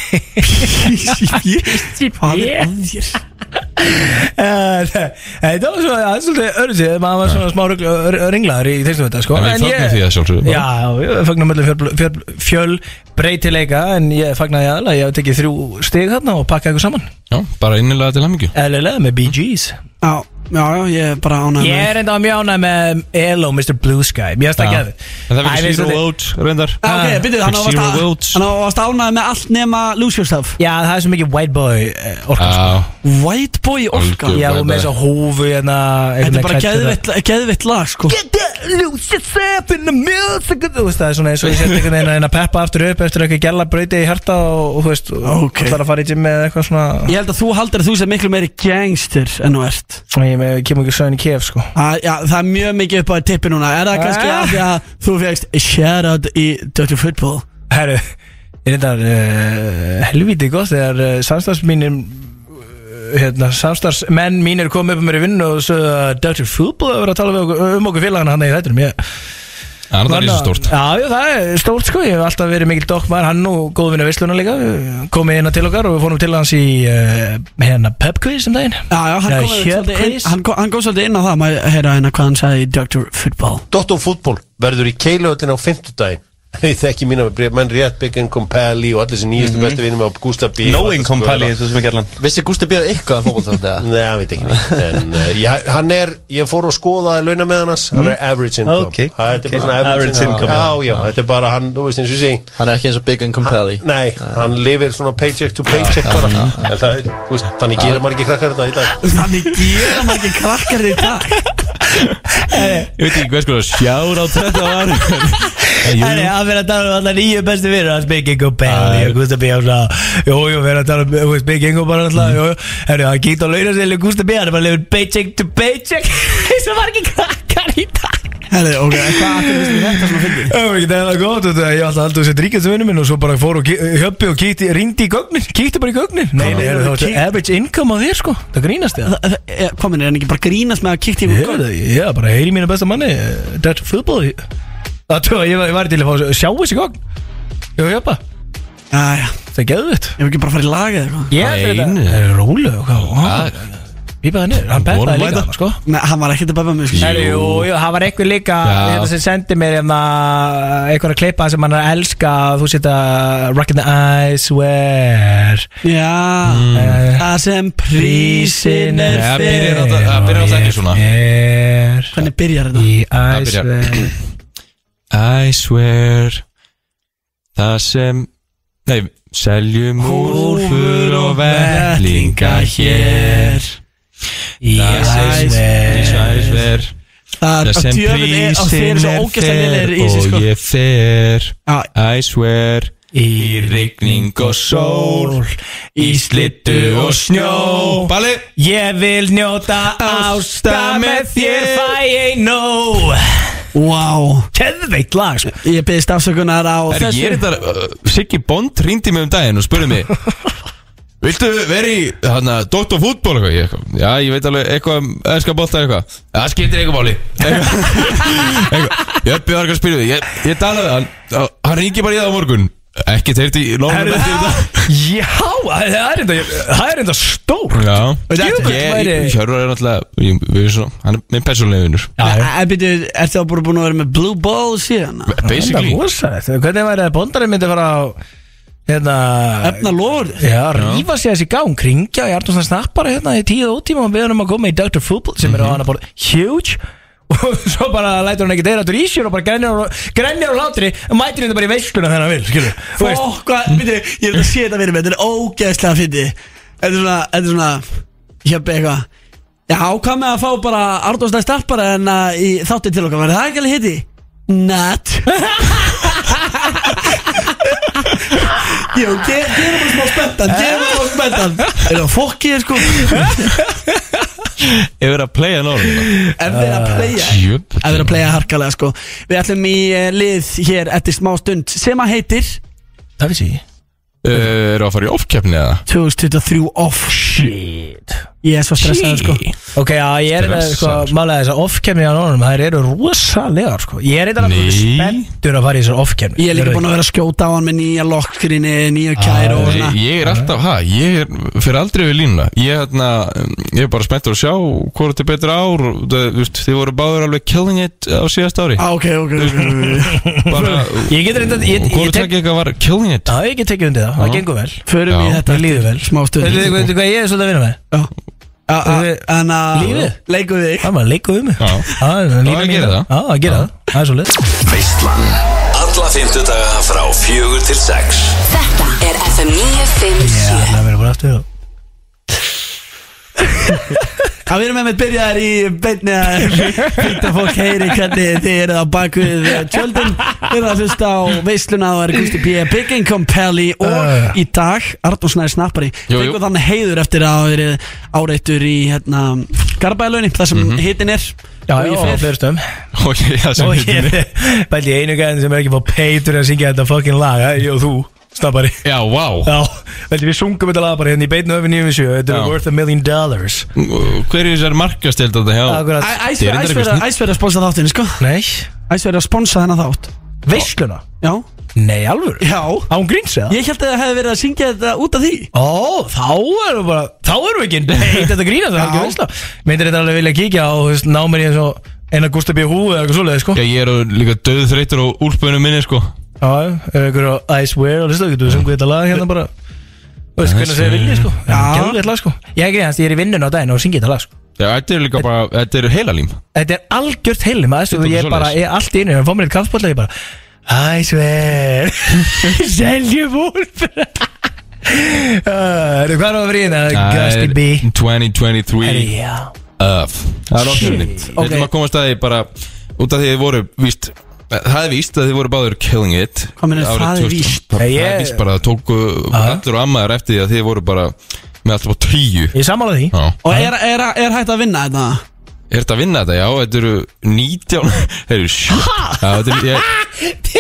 Hvað er að þér? Eh, Þetta var svona, það er svolítið öðruvísi, maður var svona smá rugl- ör- ör- ringlaður í þessum þetta sko En við fögnum því að sjálfsögðu bara. Já, við fagnum öllum fjöl, fjöl, fjöl breytileika en ég fagnaði aðalega, ég hef tekið þrjú stig þarna og pakkað ykkur saman Já, bara innilega til hemmingju Eðlilega með Bee Gees Já, já, já, ég er bara ánægð Ég með er enda mjög ánægð með Elo, Mr. Blue Sky, mér finnst það Já. ekki að En það fyrir Zero Out, reyndar Ah, Já, ok, byrjuð, hann á að Zero varst að- votes. hann á að varst ánægð með allt nema Lose Yourself Já, það er svo mikið white boy eh, orka sko. Já, White Boy Orka Algjör. Já, og með White þess að hófu hérna Þetta er bara geðveitt- geðveitt lag, sko Get that loose yourself in the music Þú veist það er svona eins og ég seti einhvern veginn að reyna að peppa aftur upp eftir eitthvað gæla brauti í hjarta og og þú veist, Ok. allar að fara í gym eða eitthvað svona Ég held að þú haldir að þú sem miklu meiri gangster en þú ert Ég með kemur ekki sögn í kef sko Að- Já, það er mjög mikið upp á þér tippi núna Er það kannski Ah. af því að þú fegst Shoutout í Dr. Football Herru, ég reyndar uh, helvítið gott þegar uh, samstars mínir hérna, samstarfsmenn mínir kom upp um mér í vinnu og sögðu að Dr. Fútbol að vera að tala við okkur, um okkur félagana hann í þættinum ég, það er lísa stórt Já, já, það er stórt sko, ég hef alltaf verið mikil dokkmar hann og góðvinna Vesluna líka komið hérna til okkar og við fórum til hans í uh, hérna pub quiz um daginn Já, já, hann Já, kom svolítið inn- Hjörkvís. hann kom- hann kom svolítið inn á það Maður heyra hérna hvað hann sagði í Dr. Football Dotto fútból verður í keilöðlinn á fimmtudaginn (laughs) Ég þekki mína menn rétt Biggin Compelli og allir sem nýjastu bestu vinnum á Gústa B Knowing Compelli, eins og sem við gerðan Vissi Gústi býða eitthvað að fókbólta þetta? Nei, hann veit ekki neitt. En uh, ég, hann er, ég fór og skoðaði launa með hans Hann Mm. er average income Ok, ha, Þetta er bara ok. svona average, Average income, Já, já, þetta er bara hann, þú veist eins og ég segi Hann er ekki eins og Big and Compelli Nei, hann lifir svona paycheck to paycheck bara En það er, þú veist, Þannig gera maður ekki krakkar þetta í dag Þannig gera maður ekki krakkar í dag Ég veit ekki hvað sko sjár á (laughs) þetta var En jú, Það er að vera að tala um alla nýju bestu vinnur hans Big Ingo Belli Já, og Gustaf B. Ásla Jú, jú, vera að tala um þú veist, Big Ingo bara Mm. alltaf Jú, herru, hann kýtt á launasili Gustaf B. Hann er bara lefur paycheck to (laughs) paycheck Þessu var ekki krakkar í dag Herri, ok, hvað akkur finnst þér þetta svona fyndið? Það var ekki það er gott þetta, Ég alltaf aldrei sett ríkast vinnu minn og svo bara fór og ki- hjöppi og kýtti Ringdi í gögnin, kýtti bara í gögnin Nei, nei, heyrðu, það þú kíkt- var average income á þér sko Það grínast þér Það- það- eh, Hvað minn, er hann ekki bara að grínast með að kikta í Ég- Google? Já, bara heyri mínu besta manni Þetta er fútbol Það tjóða, ég var- ég var til að fá sjá þessi gögn Jú, hjöppa, Jæja, það er geðvitt ég hef ekki bara að fara í laga eða eitthvað Ég fyrir Nei, þetta nei. Það er rólega og það hvað Pípaði niður, hann Vorum pettaði við líka þetta? hann, sko Nei, hann var ekkert að bæfa mig, sko Jú. Herri, Jú, jú, það var einhver líka Já. hérna sem sendi mér hérna, einhver að klippa sem hann er að elska þú setja Rockin' the Eyes Where Já, það sem Mm. prísin er Það byrjar fyrir á- það byrjar alltaf ekki svona. Er Hvernig byrjar þetta? í Eyes byrjar. Where I swear Það sem Nei, seljum úlfur og vellinga hér Í Það sem Eyes Where Æsver Það Það er sem djöfnir og þeir prísinn eru svo er ógæslega fer lélegir í þessu, og sko ég fer Já, I swear Í rigning og sól Í slittu og snjó Balli Ég vil njóta ásta með þér fæ ég nóg wow Keðveikt lag, sko Ég byrðist afsökunar á Er ég þessu þetta uh, Siggi Bond ringdi mig um daginn og spurði (laughs) mig Viltu vera í hana, Dr. Fútból eitthvað? Ég, eitthvað, Já, ég veit alveg eitthvað um Ennska bolta eitthvað Það skiptir eitthvað máli (laughs) Eitthvað- eitthvað. Jöppi var eitthvað að spyrja því Ég, ég talaði við hann Hann- Hann ringi bara í það á morgun Ekki teirt í Herru, lónum Já, það er enda, það er enda stór Já Djöfull væri- Ég, Hjörvar er náttúrulega ég- Við erum svona Hann er minn persónlega vinnur Er þetta bara búin að vera með blue ball síðan? Enda Basically rosalegt Hvernig væri að bondarinn myndi fara á Hérna Efna lofur Já, rífa sig þessi gang Ringja í Arnúsna snappara hérna í tíða útíma Og við erum að koma í Dr. Fútbol Sem er á hann að borða Huge (laughs) Og svo bara lætur hann ekki deyra Þú í sér og bara grennir og- grennir og látri Mætir hendur bara í veisluna þegar hann vil Skilur Þú veist, Fokka, byrju, ég er að sé þetta fyrir mig Þetta er ógæslega fyndi Þetta er svona, þetta er svona Hjöppi eitthvað Já, hvað með að fá bara Ardóðslega starpara en að í þátti til okkar Verður það ekki alveg hitti? Not Jú, ge- gerum bara smá spenntan Gerum bara smá spenntan Er það fokkið, sko Ég verið að playa lónum Er verið að playa Jöp að vera að playa harkalega sko Við ætlum í eh, lið hér eftir smá stund sem að heitir Það vissi ég Eh, oh, Eru að fara í ofkeppni eða? 2023 off Shit Ég er svo stressaður sko Ok, já, ég er eitthvað, sko, málega þessar off-kemni á nónum, þær eru rosalega, sko Ég er eitthvað Nei. spenntur að fara í þessar off-kemni Ég er líka búin að vera að skjóta á hann með nýja lokkrinni, nýja kæru og svona Ég, ég er alltaf, ha, ég er fyrir aldrei við línuna Ég, hérna, ég er bara spenntur að sjá hvort þetta er betra ár og það- þú veist, Þið voru báður alveg killing it á síðast ári Á, Ah, ok, ok, ok, ok, ok. bara, Ég get reynda, ég, ég, Hvort ég tek ekki eitthvað var killing it Já, ég get tekið undir það, það Já. gengur vel Förum í Já. þetta Mér líður vel Smá stund Veitu veitu hvað ég er svolítið að vinna með? Við- Ah, En að Lífið? Leikum við þig Það er bara að leika um mig Já. (laughs) Já, að gera það. Já, að gera það Það er svolítið Veislan Alla fymtudaga frá fjögur til sex Þetta er FM 957 Já, það verður bara aftur Það verðum með með byrjaðar í beinni ah, að (laughs) fyrta fólk heyri hvernig þið eruð á bakvið tjöldin Þið eruð að hlusta á veisluna og er Gusti B. Bigging Compelli Uh. og í dag Arnús Snæri Snappari Jú, jú. Fengur þannig heiður eftir að hafa verið áreittur í hérna, Garabæðalögni þar sem mm hitin er Já, og já, ég fer fyrir stöðum Og ég, það sem Og heitir ég mig (laughs) Bæti einu gæðin sem er ekki fá peitur að syngja þetta fucking lag Það er ég og þú, snabbari Já, vá Já, veldi við sungum þetta lag bara hérna í beitinu öfum 97 Þetta Já. er worth a million dollars Hver er þessar markastild þetta hjá Akkurat Æ- Þið er Æsverið reyndar æsverið- eitthvað snill. æsverið að sponsa þáttinn sko Nei, Æsverið að sponsa þennan þátt veisluna Já, Nei, alvöru já Án gríns eða? Ég held að það hefði verið að syngja þetta út af því Ó, þá erum við bara, þá erum við ekki Nei, þetta grínast, það er ekki veisla Myndir þetta alveg vilja kíkja á, þú veist, námið í eins og Einar Gústa B. Hú eða eitthvað svoleiði, sko Já, ég er á- líka döð þreytur á úlpunum minni, sko Já, ef ykkur á Ice Wear og listu, getur við sungið þetta lag hérna bara Þú veist, hvernig segir viljið, sko Já Gjöðlega lag, sko Ég er grínast, ég er í vinnun á daginn og syngið þetta lag, sko Já, þetta er líka bara, þetta er heilalím Þetta er algjört heilum, að þessu, Þetta er ég er bara, svoleiðis. ég er allt í einu, ég fá mér eitt kaffbólla, ég bara Ice Wear (laughs) Seljum úlp (laughs) Ah, Hvað er það að vera í hérna? Gusty B 2023 Herri, já Öf Það er okkur nýtt Við Ok. ætlum að komast að því bara Út af því þið voru víst Það er víst að þið voru báður killing it Hvað meinar, Árið það er 2000. víst? Það Ég- er víst bara að það tóku allir og ammaður eftir því að þið voru bara Með alltaf bara tíu Ég sammála því Já Og er, er, er hægt að vinna þetta? Er þetta að vinna þetta? Já, þetta eru (laughs) 19 Þeir eru sjö Já, þetta er ég-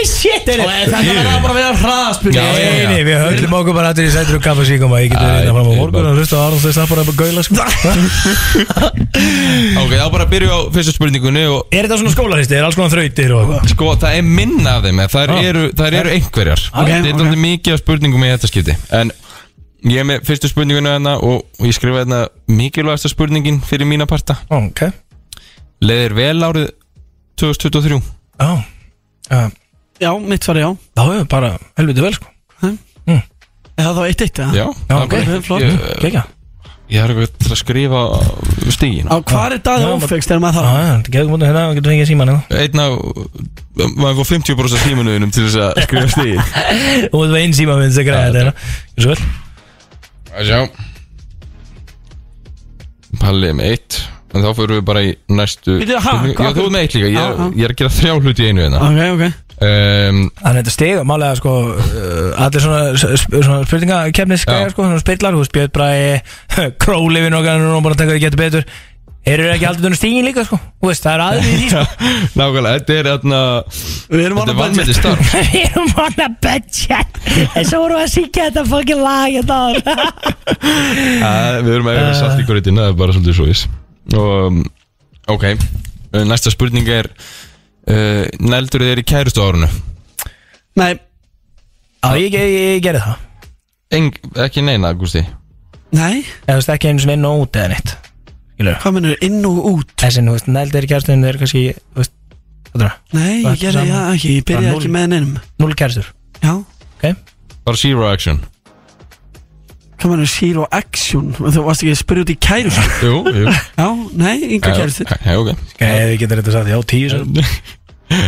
Shit, er Og þetta verður bara að vera hraðaspunni Já, já, Nei, já. nei, við höllum okkur bara allir í sætur og kaffa síkum að ég getur Æ, reynda fram á ég morgun bara- og hlusta á Arnóð þess að bara bara (laughs) gaula sko. Ok, þá bara byrju á fyrstu spurningunni og Er þetta svona skólaristi, er alls konar þrautir og eitthvað Sko, það er minna af þeim en þær eru, þær eru einhverjar Ah. Eh. Ok, Þetta er ok. okay. mikið af spurningum í þetta skipti En ég er með fyrstu spurninguna hérna Og og ég skrifa hérna mikilvægasta spurningin fyrir mína parta Ok, Leðir vel árið 2023 Ah. já Já, mitt svar er já Þá hefur bara helviti vel sko Er það þá eitt eitt eða? Já, það er ok, bara- flott. Ég, Kekja ég er eitthvað til að skrifa stígin Á hvað er Já, daði bara- ófegst þegar maður Já, þarf? já, þetta getur mútið hérna, getur fengið síman hérna Einn af, maður fór 50% stímanuðinum til þess (laughs) að skrifa stígin Og þetta var einn síman minn sem græði þetta hérna Gjörðu Svo vel Að sjá Pallið með eitt En þá fyrir við bara í næstu Bíddu, ha, spurningu. hvað- Já, þú er með eitt líka Ég Já, já. er, ég er að gera þrjá hluti í einu hérna Ok, ok um, Þannig þetta stiga, málega sko uh, Allir svona, s- sp- svona spurningakefnis Já. gæja sko Svona spillar, hú spjöð bara (laughs) Króli við nokkar, nú er hún bara að taka því getur betur Eru ekki aldrei dönum stígin líka sko Þú veist, það er aðrið í því (laughs) sko Nákvæmlega, þetta er þarna Við erum Þetta alveg er vannmyndi (laughs) starf Við erum vana budget En svo vorum við að syngja þetta fucking lag hérna Þetta áður Æ, Við erum að vera satt í gröðin Það er bara svolítið svo ís Og um, ok uh, Næsta spurning er uh, Nældur þið er í kærustu árunu Nei, Já, ég, ég, ég gerði það Eng, Ekki neina, Gusti nei, Eða þú veist ekki einu svona inn og út eða neitt Skilur hvað mennur inn og út? Þessi, þú veist, næld er kærstun Það er kannski, þú veist, hvað er það? Nei, Var ég ekki gerði saman. það ekki, ég byrjaði Var ekki núll. með neinum Null kærstur Já, Ok, Bara zero action hvað mennur zero action Þú varst ekki að spyrja út í kæru Já, Jú, (laughs) jú nei, yngur kæru þitt Já, (laughs) ok ef við getum þetta sagt Já, tíu sem Sama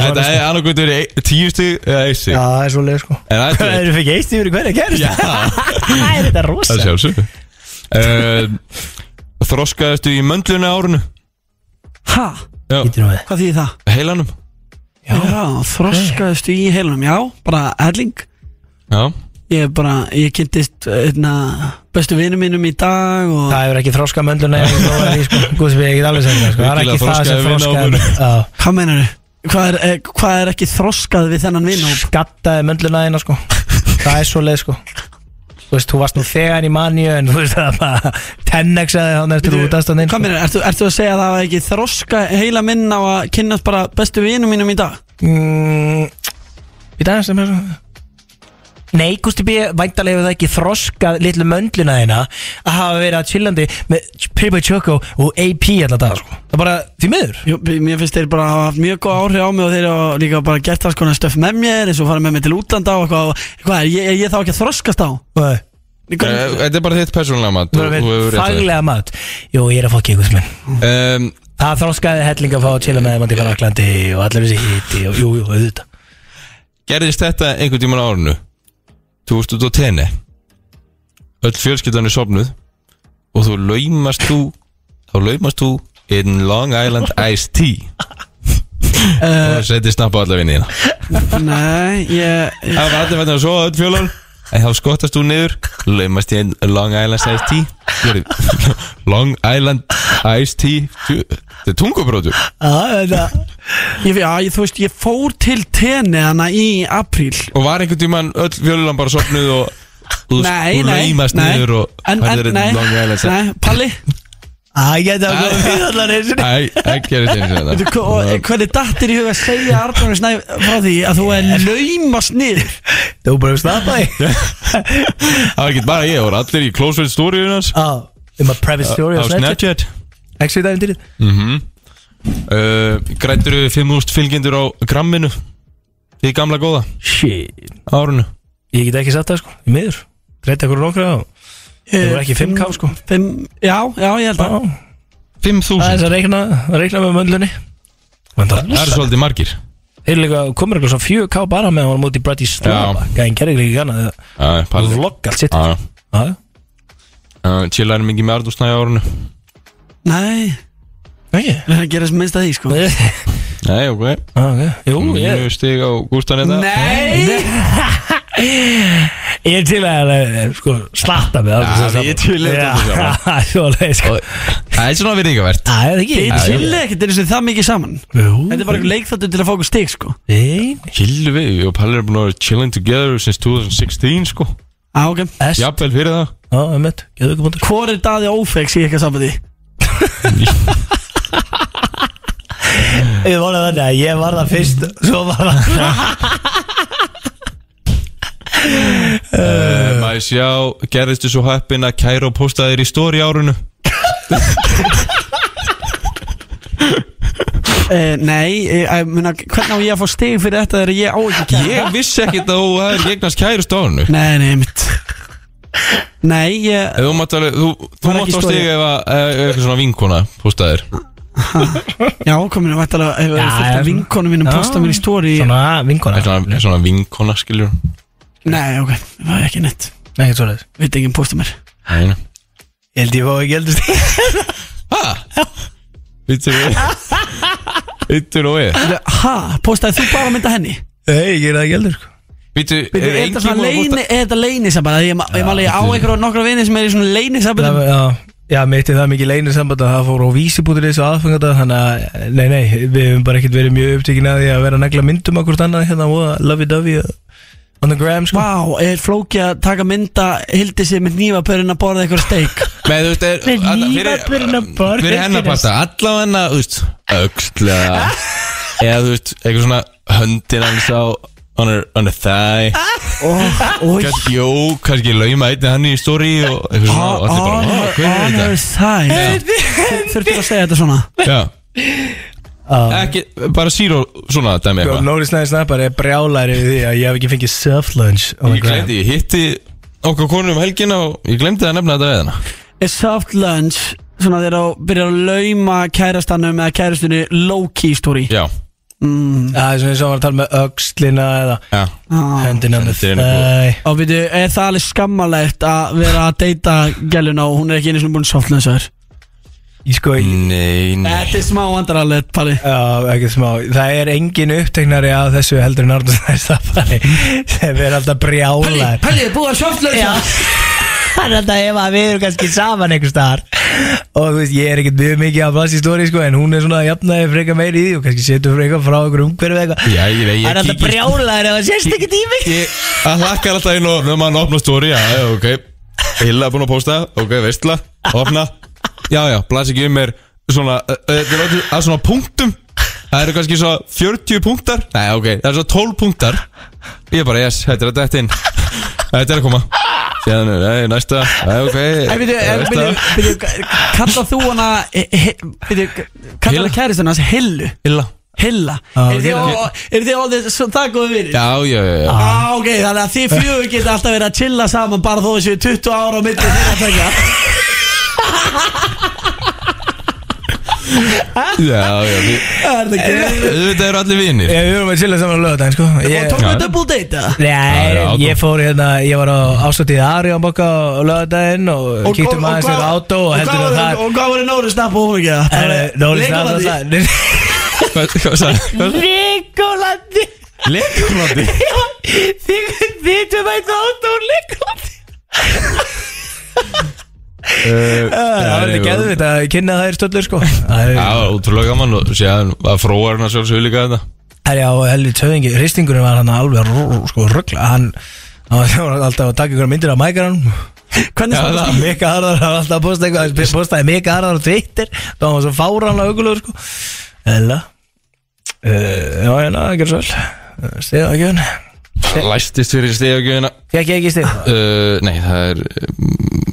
sko. Þetta svona hefði annarkvæmt verið ei- tíu stig e- eða eitt stig Já, það er svo leið (laughs) sko En þetta Það er eru fyrir geist yfir hverja kærist (laughs) Það er þetta rosa Það er sjálfsögðu uh, Þroskaðistu í möndlunni á árunu Ha, Já, Býtum við. hvað þýðir það? heilanum Já, þroskaðistu í heilunum, já, bara helling Já, Ég er bara, ég kynntist einna, bestu vinum mínum í dag og Það hefur ekki þroska mönduna ef þú lofar því, sko. Guð, ég get alveg sagt það, sko. Það er ekki það sem Virkilega þroskaði þroskaði vinahópur. mönduna. Já. Hvað mennur Hvað er, eh, hvað er ekki þroskað við þennan vinum? skattaði möndluna þína sko Það er svo leið sko Þú þú veist, þú varst nú þegar í manju en þú veist, það bara 10x að þá næstu þú út aðstæðan Hvað meina, ertu, ertu að segja að það var ekki þroska heila minn á að kynnast bara bestu vinum mínum í dag? Mm, í dag sem er svo Nei, Gusti B, væntalega hefur það ekki þroskað litlu möndluna þína að hafa verið að chillandi með Pippa Choco og AP alltaf dag, sko. Það er bara, því miður. Jú, mér finnst þeir bara hafa haft mjög góð áhrif á mig og þeir hafa líka bara gert alls konar stöf með mér eins og farið með mér til útlanda og eitthvað Hvað er, ég, ég þá ekki að þroskast á? Nei Eh, Þetta er bara þitt persónulega mat Það er verið faglega mat Jú, ég er að fá kikust minn um, Það þroskaði helling að fá að chilla með þeim að fara Aklandi og allir þessi hiti og jú, jú, auðvitað Gerðist þetta einhvern tíman á árinu 2010 Öll fjölskyldan er sofnuð Og þú laumast þú Þá laumast þú In Long Island Iced Tea Og setið snabba alla vinniðina Nei, ég, Það var allir verðin að sofa öll fjólan En þá skottast þú niður Laumast í In Long Island Iced Tea Gerði, (laughs) Long Island Iced Tea Tjú- Þetta er tungubrótur Ah, ég, já, ég, þú veist, ég fór til tenni hana í apríl Og var einhvern tíman öll fjólan bara sofnuð Og þú Nei, þú nei, laumast nei. niður Og En, færðir en, inn nei, Long Island Iced nei, Palli Æ, ég þetta var komið við allar eins Æ, ekki er þetta eins Veitu, hva- og hvernig dattir í huga að segja Arnóri Snæf frá því að þú er laumast niður Þú bara snappaði Það var ekki bara ég, það voru allir í Close Friends Story hans Á, um að private story Á á Snapchat Exit æfindir mm -hmm. uh, Grættur 5.000 fylgjendur á gramminu Því gamla góða Shit Árunu Ég get ekki satt það sko, í miður Greita hverju nokkra og Það voru ekki 5k sko Fimm, já, já, ég held að 5.000 Það er þess að reikna, að reikna með möndlunni Það er svolítið margir Þeir líka komur eitthvað svo 4k bara með að hann múti Bratislava Gæðin gerir ekki annað Æ, palli. Vlogg allt sitt Já. Já. Uh, Chillar mikið með Ardúsnæ á árunu Nei, (laughs) Nei það gerast minnst að því sko Nei, ok ah, okay. Jú, ég- Mjög stig á hérna. Gústan þetta Nei Ég er til að eh, sko, slatta með Já, við erum til að þetta (laughs) saman. saman Svo leið sko Það er svona virðingavert Það er ekki Þið Já, já. chillið ekkert eins og það mikið saman Þetta er bara einhver leikþáttur til að fá okkur stig sko Nei Chillu við, ég og Palli er búin að vera chilling together since 2016 sko Á, ok S Já, Jafnvel fyrir það emmett Gjöðu ekki búin Hvor er daði ófegs í eitthvað saman því? Ég var það þannig að ég var það fyrst Svo var það Uh, maður sjá, gerðistu svo heppin að Kæró postaði þér í stóri árunu Uh, nei, uh, muna, hvernig á ég að fá stig fyrir þetta þegar ég á ekki kæra? Ég vissi ekkert að þú hefði eignast kærust á árunu Nei, nei, mitt Nei, ég Þú mátt alveg, þú, þú Var mátt ekki á story. stiga ef að ef eitthvað svona vinkona postaði þér Já, kominu væntalega Hefur Já, verið fullt af ég- vinkonum mínum Já. posta mér í stóri (laughs) Svona Ah, vinkona Eitthvað svona, svona vinkona, skiljur Nei, ok, það var ekki neitt Ekkert svo leið Veit enginn posta mér Æna Ég held ég fá ekki eldust Hæ? Vittur og (laughs) ég Vittur og ég Ha, postaði þú bara mynda henni? (laughs) Nei, ég gerði það ekki eldur sko Vittur, Veitu, er Er þetta engin svona búin að leini, er þetta leini saman? Ég, ma- ég maður ég á einhverja og nokkra vini sem er í svona leini saman Já, já mitt er það mikið leynir samband að það fór á vísibútur þessu aðfangata þannig að, nei, nei, við hefum bara ekkert verið mjög upptekin að því að vera að negla myndum okkur annað hérna og lovey-dovey on the gram, sko Vá, er flóki að taka mynda Hildi sér með nývapörinn að borða einhverja steik Nei, þú veist, er Nei, alla- lífapurinn að borða Fyrir hennar fyrir passa, allavega þú veist Öxla Eða þú veist, eitthvað svona höndin hans á On her, on her thigh Ó, ó, Gæt, jó, kannski lauma einni hann í story og eitthvað svona og allir bara, On "Vá, hver her- er on her þetta? side Þurftur að segja þetta svona Já, ekki, bara zero svona dæmi Og eitthvað Nóri Snæði Snappar er brjálæri við því að ég hef ekki fengið Oh self-lunch Ég glemdi, ég hitti okkar konur um helgina og ég glemdi að nefna þetta við hana er soft lunch svona þegar þú byrjar að lauma kærastannum eða kærastinu low key story Já, Það er sem ég sá var að tala með öxlina eða já, ah. hendina með Þetta er nú þæ og veitu, er það alveg skammalegt að vera að deyta gæluna og hún er ekki einu svona búin soft lunch að þér Ég sko, Mm. ég- nei, nei þetta er smá andralegt pari já, ekki smá Það er engin uppteknari að þessu heldur (laughs) en Arnur Snæði Snappari sem er alltaf brjálæri Palli, er búið að soft lunch já. Þannig að ef að við erum kannski saman einhvers staðar Og þú veist, ég er ekkert mjög mikið að plass í stóri sko En hún er svona að jafnaði freka meiri í því Og kannski setur freka frá okkur umhverfið eitthvað Já, ég veit, ég Það er alltaf kíki- brjálaður ef það sést ekkert í mig Ég Það hlakkar alltaf inn og Nú maður opna stóri Já, já, ok Hilla er búin að posta Ok, veistla Opna Já, já, blas ekki um mér Svona uh, uh, Þetta er öllu að svona punktum Það eru kannski svo 40 punktar Nei, ok Það eru svo 12 punktar Ég er bara, yes Þetta er að detta inn Þetta er að koma Síðan, nei, næsta Nei, ok eh, En eh, byrju, en næsta. byrju, byrju, kallar þú hana he- he- byrju, kallar það kærist hans Hillu? Hilla Hilla Já, Er þið Hilla. á- eru þið orðið svo það góðu vinir? Já, já, já, já. Ah. Á, ok, þannig að þið fjögur geta alltaf verið að chilla saman bara þó þessu 20 ára á milli þeirra tækja Já, já við- Auðvitað eru allir vinir Já, við erum að chilla saman á lögadaginn sko Ég- Tókum við double date eða? Já, já, Nei, átó. ég fór hérna, ég var á ásótið Ari á baka á lögadaginn og Og- kýttum og- aðeins og við hvað- átó og og heldur hvað að voru- það Og hvað voru Nóri snapp og hún ekki að? Nóli Legoland snabba í- það (laughs) Hvað hvað sagði? Legolandi Lekolandi Þið þið tvö mættu átó og Legolandi Eh, Það var ekki geðvitt að kynna það er stöllur sko Já, útrúlega gaman og séðan að fróar hann að sjálfsögur líka þetta Herja á helvi töfingi, hristingurinn var hann alveg rú- rú- sko ruggla Hann hann var (laughs) alltaf að taka ykkur myndir af mækaranum Hvernig það var Mika Harðar, hann var alltaf að posta eitthvað hann Postaði Mika Harðar á Twitter Það var svo fáránlega hugulegur sko Eða Já, já, ná, ekki svo vel Stiða ekki hann Læstist fyrir stegjöfina Fekk ég ekki stig? Uh, nei, það er um,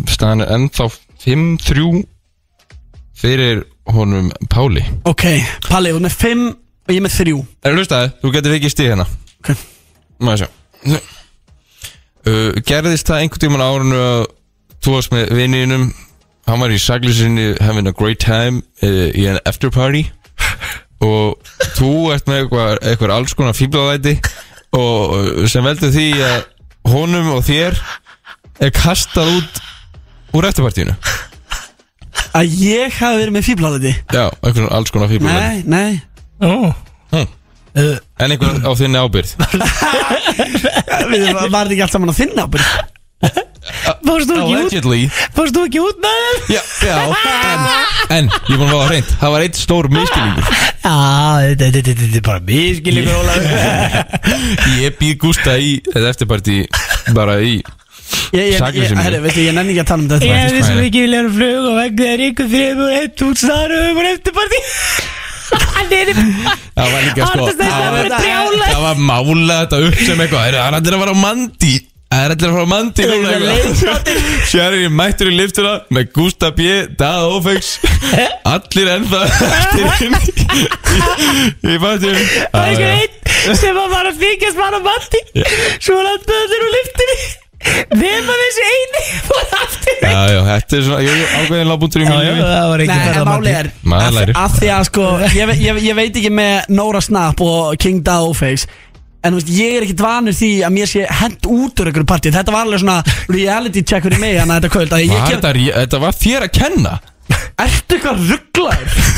staðan er ennþá 5-3 fyrir honum Páli Ok, Palli, hún er 5 og ég er með 3 Er þú hlustaði? Þú getur ekki stig hérna Ok Má ég sjá uh, Gerðist það einhvern tímann á árinu að þú varst með vinninum Hann var í saglusinni having a great time uh, í en after party og þú ert með eitthvað, eitthvað alls konar fíblalæti og uh, sem veldur því að honum og þér er kastað út úr eftirpartíinu Að ég hafi verið með fíblalæti Já, einhvern alls konar fíblalæti Nei, nei Ó En einhvern á þinni ábyrð Við var var þetta ekki allt saman að þinna ábyrð Fórstu Allegedly Fórst þú ekki út með þeim? Já, já en, en, ég er búin að fá það reynd Það var eitt stór miskilingur Já, þetta þetta- þetta- þetta er bara miskilingur Ólafur Ég býð Gústa í þetta eftirparti Bara í Ég, ég, Sakleysinu. ég, herri, veitu, ég nenni ekki að tala um þetta Ég hefði svo eftir. ekki vilja hann flug og vegna þegar ykkur þrefur eitt út snaröfum og eftirparti Hann er Það var líka sko Arnars, þetta Það var var, brjálæð. það var mála þetta upp sem eitthvað Það er allir að fara á mandi Það er allir að fara á mandi núna eitthvað. Sherry mættur í liftuna Með Gústa B, Dada Ófegs Allir ennþá eftir inn í- Í Það fattum er eitthvað einn sem að bara þykjast bara mati Svo hann að böður úr liftinni Nema þessu eini Fór aftur Já, já, þetta er svona, jú, jú, ákveðin lágbúntur í Já, mínu já, lífi. það var ekki Nei, þetta en málið mati. er Maður lærir. Af því að sko ég, ve- ég, ég veit ekki með Nora Snapp og King Dowface En þú veist, ég er ekkert vanur því að mér sé hent út úr einhverju partíu Þetta var alveg svona reality check fyrir mig Þannig að þetta kvöld að ég Var kem- þetta, ré- þetta var þér að kenna Ertu eitthvað rugglaður?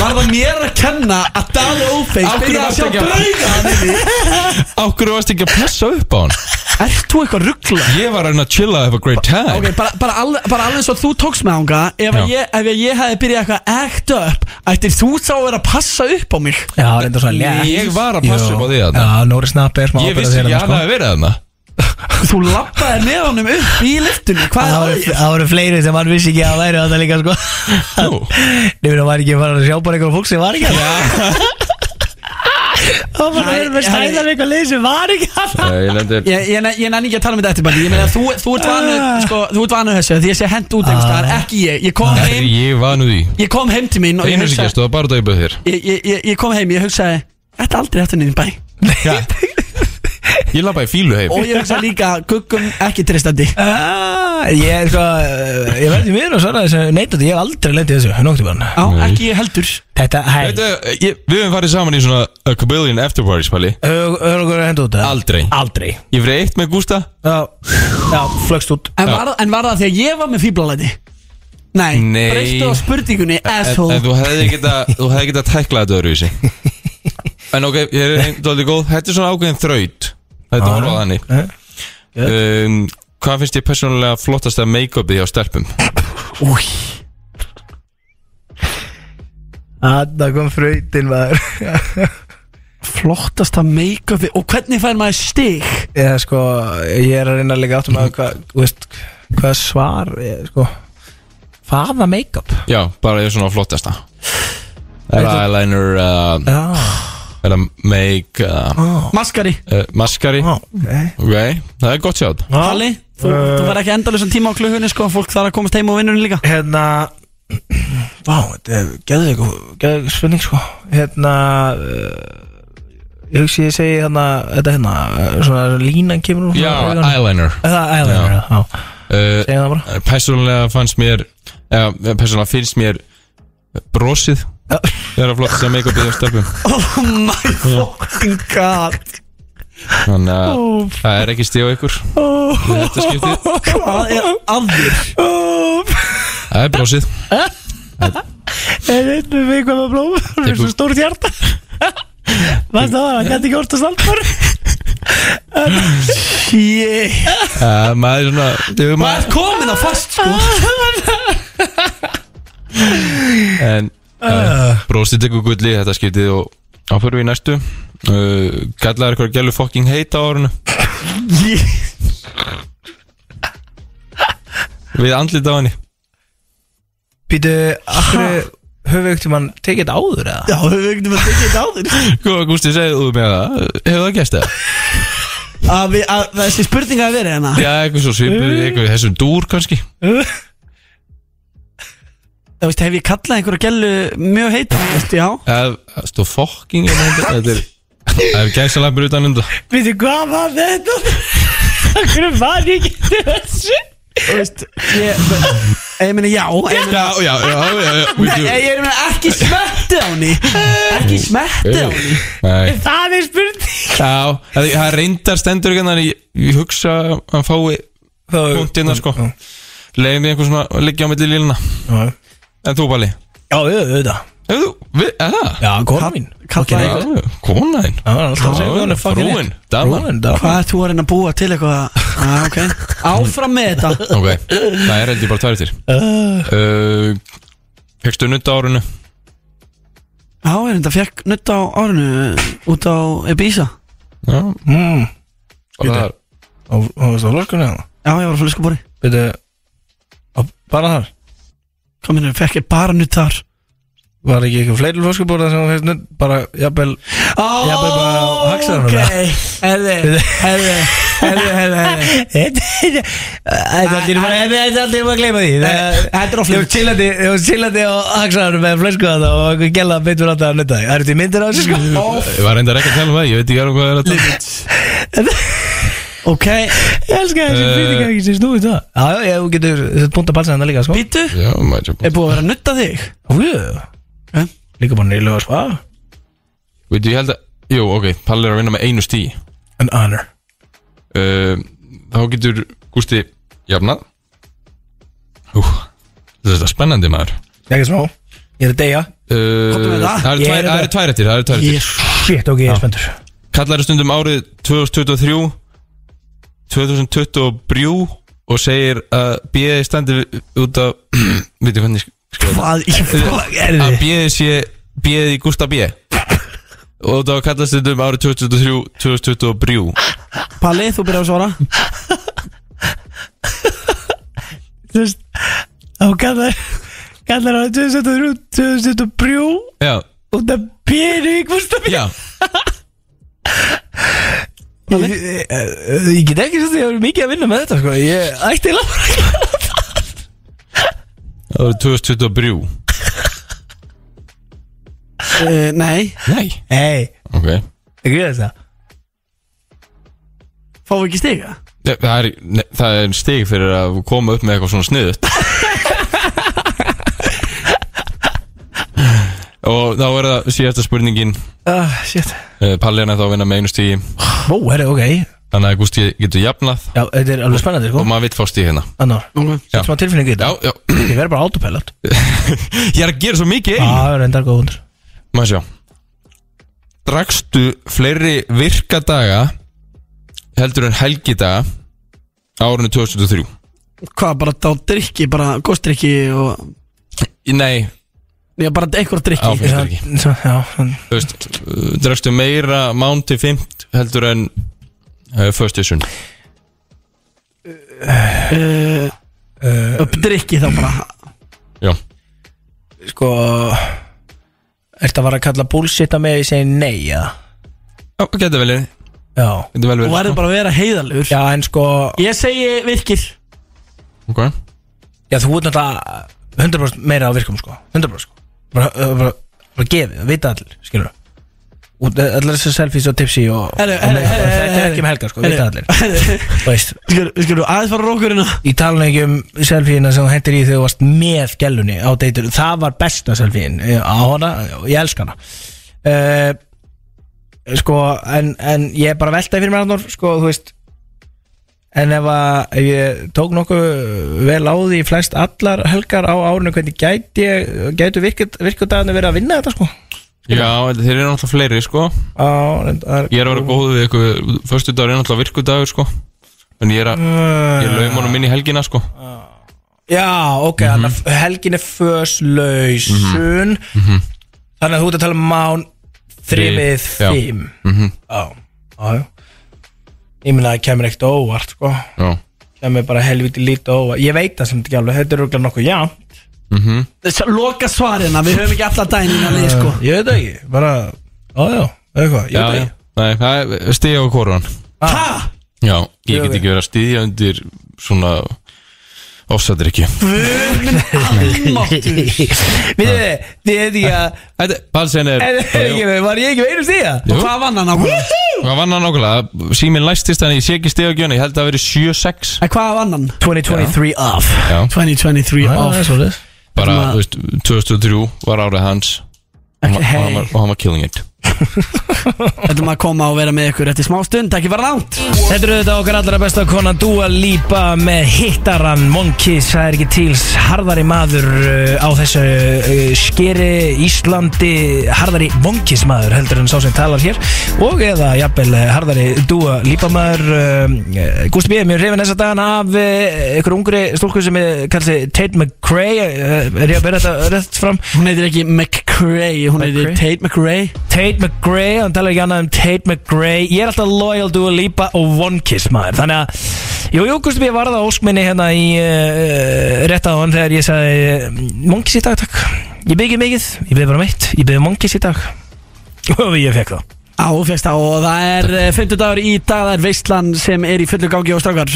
Var það mér að kenna að Dali Ófeis Af hverju byrja að varstu sjá ekki að- drauga hann inni? Ákveður varst ekki að passa upp á hann Ert þú eitthvað rugglaður? Ég var að reyna að chilla og have a great time Ok, bara, bara, alveg, bara alveg svo þú tókst með ánga Ef, að Já. ég, ef ég hefði byrjað eitthvað að act up Ættir þú sá að vera að passa upp á mig Já, það var enda svona létt. Ég var að passa Jú. upp á því þarna. Já, Nóri Snappi er smá Ég vissi sko. sko. ekki að hann hafi verið þarna Þú lappaði með honum upp í liftunni Hvað Það er voru- það? það voru fleiri sem hann vissi ekki að væri þetta líka sko Nú. Nefnir hann var ekki að fara að sjá bara eitthvað fólk sem var ekki að Það var að vera með stæðan eitthvað lið sem var ekki að Ég nefndi Ég, ég, ég nenni ekki að tala um þetta eftir bara Ég meina þú, þú ert vanur sko, Þú ert vanur þessu Því ég sé hent út einhvers staðar Ekki ég Ég kom heim Ég var nú því Ég kom heim til mín og ég Einu sem hugsaði- gestu, það var bara dæpa þér ég, ég, ég, ég kom heim, ég hugsaði Þetta er aldrei eftir niður í bæ (laughs) Ég lappa í fílu heim Og ég hugsaði líka, guggum ekki tristandi Ah, Ég sko, eh, ég verði mér og svara þessu neitandi, ég hef aldrei lendið þessu Nóttibann Já, ekki ég heldur Þetta, hæ, Veitu, ég- Við höfum farið saman í svona A Cabillion After Parties, Palli örgur að henda út það? Aldrei Aldrei Ég fyrir eitt með Gústa Já, já flögst út En var, en var það þegar ég var með fíblalæti? Nei, E- Nei. breystu á spurningunni, En, asshole en þú hefði geta Þú hefði geta tæklað þetta öðruvísi En ok, ég er einn dóldi góð Þetta er svona ákveðin þraut Þetta Já, voru á þannig eh, um, Hvað finnst ég persónulega flottasta make-upið hjá stelpum? Új Þarna kom fröytin maður Flottasta make-upi Og hvernig fær maður stig? Ég, sko, ég er að reyna að leika áttum að hvað, þú veist, hvað svar ég, sko, faða make-up Já, bara ég er svona flottasta Er það eyeliner uh, Er það make uh, Maskari uh, Maskari okay. það er gott sjátt Halli, þú, Uh, þú verð ekki endalusum tíma á kluhunni sko Fólk þarf að komast heim og vinnunni líka Hérna Vá, þetta er geðveik geðveik spurning sko Hérna uh, Ég hugsi ég segi hérna Þetta hérna, uh, svona línan kemur úr Já, augunum. eyeliner Er Það eyeliner, já, Segja það bara Persónulega fannst mér eða, Persónulega finnst mér Brosið Það er að flottasta make-upið hjá stelpum Oh my fucking god Þannig að Ó. það er ekki stíð á ykkur Í Þetta skipti Hvað er að þér? Það er brosið En þetta við hvað var blóm Það er svo stórt hjarta Vast það var, hann gæti ekki orðt að saldbor Shit uh, Maður er svona þegar Maður er komin á fast sko En uh, brosið tekur gulli í Þetta skiptið og áfyrir við í næstu uh, Gallar eitthvað gælu fokking heita á árinu Við andlita á henni Býtu, akkur höfum við ekkert mann tekið þetta áður eða? Já, höfum við ekkert mann tekið þetta áður Góða Gústi, segðu þú með það Hefur það gæst það? Að við- að- Þessi spurning hafi verið hérna Já, eitthvað svo svipur Eitthvað í þessum dúr kannski Það veist, hef ég kallað einhverja gælu mjög heita Veist, já Það stóð fokking hérna undir- Þetta er Það er gæsa lampur utan undan Býtu, hvað var þetta? Akkur var ég ekki þessu? Þú veist, ég Ég meina já Ég meina Já, já, já, já, já Nei, ég meina ekki smetti á henni Ekki smetti á henni Nei Það er spurning Já, það það reyndar stendur ekki Þannig ég- ég hugsa að hann fái Puntina sko Leðið mér einhver svona að Liggja á milli líluna Já. En þú Bali Já, auðvitað Ef þú, við, er það? Já, kona mín Kallaði Já, Kona þinn Já, alltaf segja hún er fucking rétt. Frúin, daman Frúin, daman. Hvað ert þú að reyna að búa til eitthvað ah, okay. Áfram með þetta Ok, það er heldur bara tværið Ah. þér Fekstu nutt á árinu Já, er þetta fekk nutt á árinu Út á Ibiza Já, Mm. og það er Og og varstu á hérna? lorkunni eða? Já, ég var að flösku bóri Býtu, og bara þar? Hvað minnur, fekk ég bara nutt þar Var ekki eitthvað fleiri flöskubóra sem hún fyrst nutt bara, jafnvel, Ó, jafnvel bara á haxanum ok Herði, herði, herði, herði (laughs) Þetta þetta- þetta er allir bara, þetta er allir bara að gleyma því Það- Eh, Þetta er á Ég var flösku chillandi, ég var chillandi á haxanum með flösku þarna og einhver gæla beitur alltaf að nutta því Það eru því myndir á þessu sko (laughs) Ég var reyndar ekki að tala um það Ég veit ekki alveg hvað er að tala Ok, Ég elska þessi Eh. fyrirgæki sem snúið það Já, já, ég þú getur sett búnt að balsa þetta líka sko býtu Já, maður Er búið að vera að nutta þig? Újú Eh? Líka bara nýlega sva Veit, ég held að Jú, ok, Palli er að vinna með einu stí An honor uh, Þá getur Gústi jafnað Ú, þetta er spennandi maður Ekki smá Ég er að deyja Uh, Komdu með það. það eru Ég tvær- er það eru þetta. tvær eftir, það eru tvær eftir Shit, ok, ég er spenntur Kallar stundum árið 2023 2020 og brjú og segir að bíði standi út (clears throat) af veitum hvernig skrifa Hvað í fuck er að þið? bíði sé bíði í Gústa B og þá kallar stundum um árið 2023 2020 og brjú Palli, þú byrjar að svara Þú veist, þá kallar Kallar á 2003, 2003 Já, Og það byrju í kvústa já, Ég ég- ég get ekki svo því að ég er mikið að vinna með þetta sko Ég ætti eiginlega bara ekki það eru 2020 og brjú uh, Nei, Nei Hei, Ok, ekki við þess að fáum við ekki stiga? Þa- það er, ne, það er stig fyrir að koma upp með eitthvað svona sniðut Og þá er það síðasta spurningin Ah, shit uh, Palli er þá að vinna með einu stígi Ó, herri, ok Þannig að Gústi getur jafnað Já, þetta er alveg spennandi sko og maður vill fá stíg hérna Annar, Já. þetta var tilfinningu í Já, þetta já, Ég verð bara autopilot ég er að gera svo mikið einn Það er endar góð hundur Maður sjá Drakstu fleiri virkadaga heldur en helgidaga Árunni 2003 Hvað, bara þá drikki, bara góðstrikki og Nei, Já, bara einhver drikki Áfengisdrykki. þú veist, uh, drakstu meira mán til 5 heldur en uh, First Edition uh, Upp drikki þá bara Já Sko Ertu að vara að kalla bullshit að mig að ég segi nei, eða? Já, geta vel verið Já Geta vel Og verið verður bara að vera heiðalur Já, en sko Ég segi virkir Ok Já, þú ert náttúrulega 100% meira á virkum, sko 100% sko Bara, bara, bara, bara gefið, það vita allir, skilur Út, allir þessar selfies og tipsi og, Herru, og herru, herru, Þetta er herru, ekki um helga, sko, herru, vita allir herru. Þú Veist Skulum aðeins fara hérna. rókurina Ég tala ekki um selfieina sem þú hendir í þegar þú varst með gælunni á deytur Það var besta selfiein eh, á hana, ég elska hana uh, Sko, en, en ég er bara veltaði fyrir mér annor, sko, þú veist En ef, að, ef ég tók nokkuð vel á því flest allar helgar á árinu hvernig gæti, ég- gætu virkudagarnir verið að vinna þetta sko Já, þeir eru náttúrulega fleiri sko á, reyndar, Ég er að vera góð við ykkur Förstu dagur er náttúrulega virkudagur sko En ég er að Ég laum honum inn í helgina sko Já, ok, mm -hmm. helgin er föslausun Mhm. Þannig að þú ert að tala um mán Þrifið Já. fimm Mhm. Já, já, já Ég meina að það kemur ekkert á óvart, sko Já. Kemur bara helviti lítið á óvart Ég veit það sem ekki alveg, þetta er rúglega nokkuð já Mhm. Loka svarina, við höfum ekki alla dænin að leið sko Ég veit það ekki, bara Já, já, eitthvað, ég veit það Já, ekki Nei, það er stíða á korun Eh, Hæ? Já, ég get ekki verið að stíðja undir Svona Ofsættir ekki (laughs) Við þið, þið veit ekki að Balsen er En, ég- Var ég ekki með einu stíða? Jú. Hvað vann hann ákvæða? Hvað vann hann nákvæmlega? Síminn læstist en ég sé ekki stíða á gjöna Ég held að það veri 7-6 Hvað vann hann? 2023 off Já 2023 off svolítið Bara, þú veist, 2003 var árið hans Og hann- og hann var- og hann var killing it Þetta maður að koma og vera með ykkur eftir smá stund, ekki fara langt Þetta eru þetta okkar allra besta kona Dua Lipa með hittaran Monkeys, það er ekki tíls harðari maður uh, á þessu uh, skeri Íslandi harðari Monkeys maður heldur en sá sem talar hér og eða jafnvel eh, harðari Dua Lipa maður uh, Gústi B. Mér reyfin þessa dagana af uh, ykkur ungri stúlku sem er kallið Tate McRae uh, er ég að bera þetta rétt fram? Hún heitir ekki McCray, hún heitir McCray? Tate McRae Tate McRae, hann talar ekki annað um Tate McRae Ég er alltaf loyal Dua Lipa og One Kiss maður Þannig að, jú, jú, Gusti, ég varða óskminni hérna í uh, rétt á hann þegar ég sagði uh, One Kiss í dag, takk Ég byggi mikið, ég byggi bara meitt, ég byggi One Kiss í dag (laughs) Og ég fekk það Á, fegst það og það er 50 dagur í dag, það er veistlan sem er í fullu gangi og strákar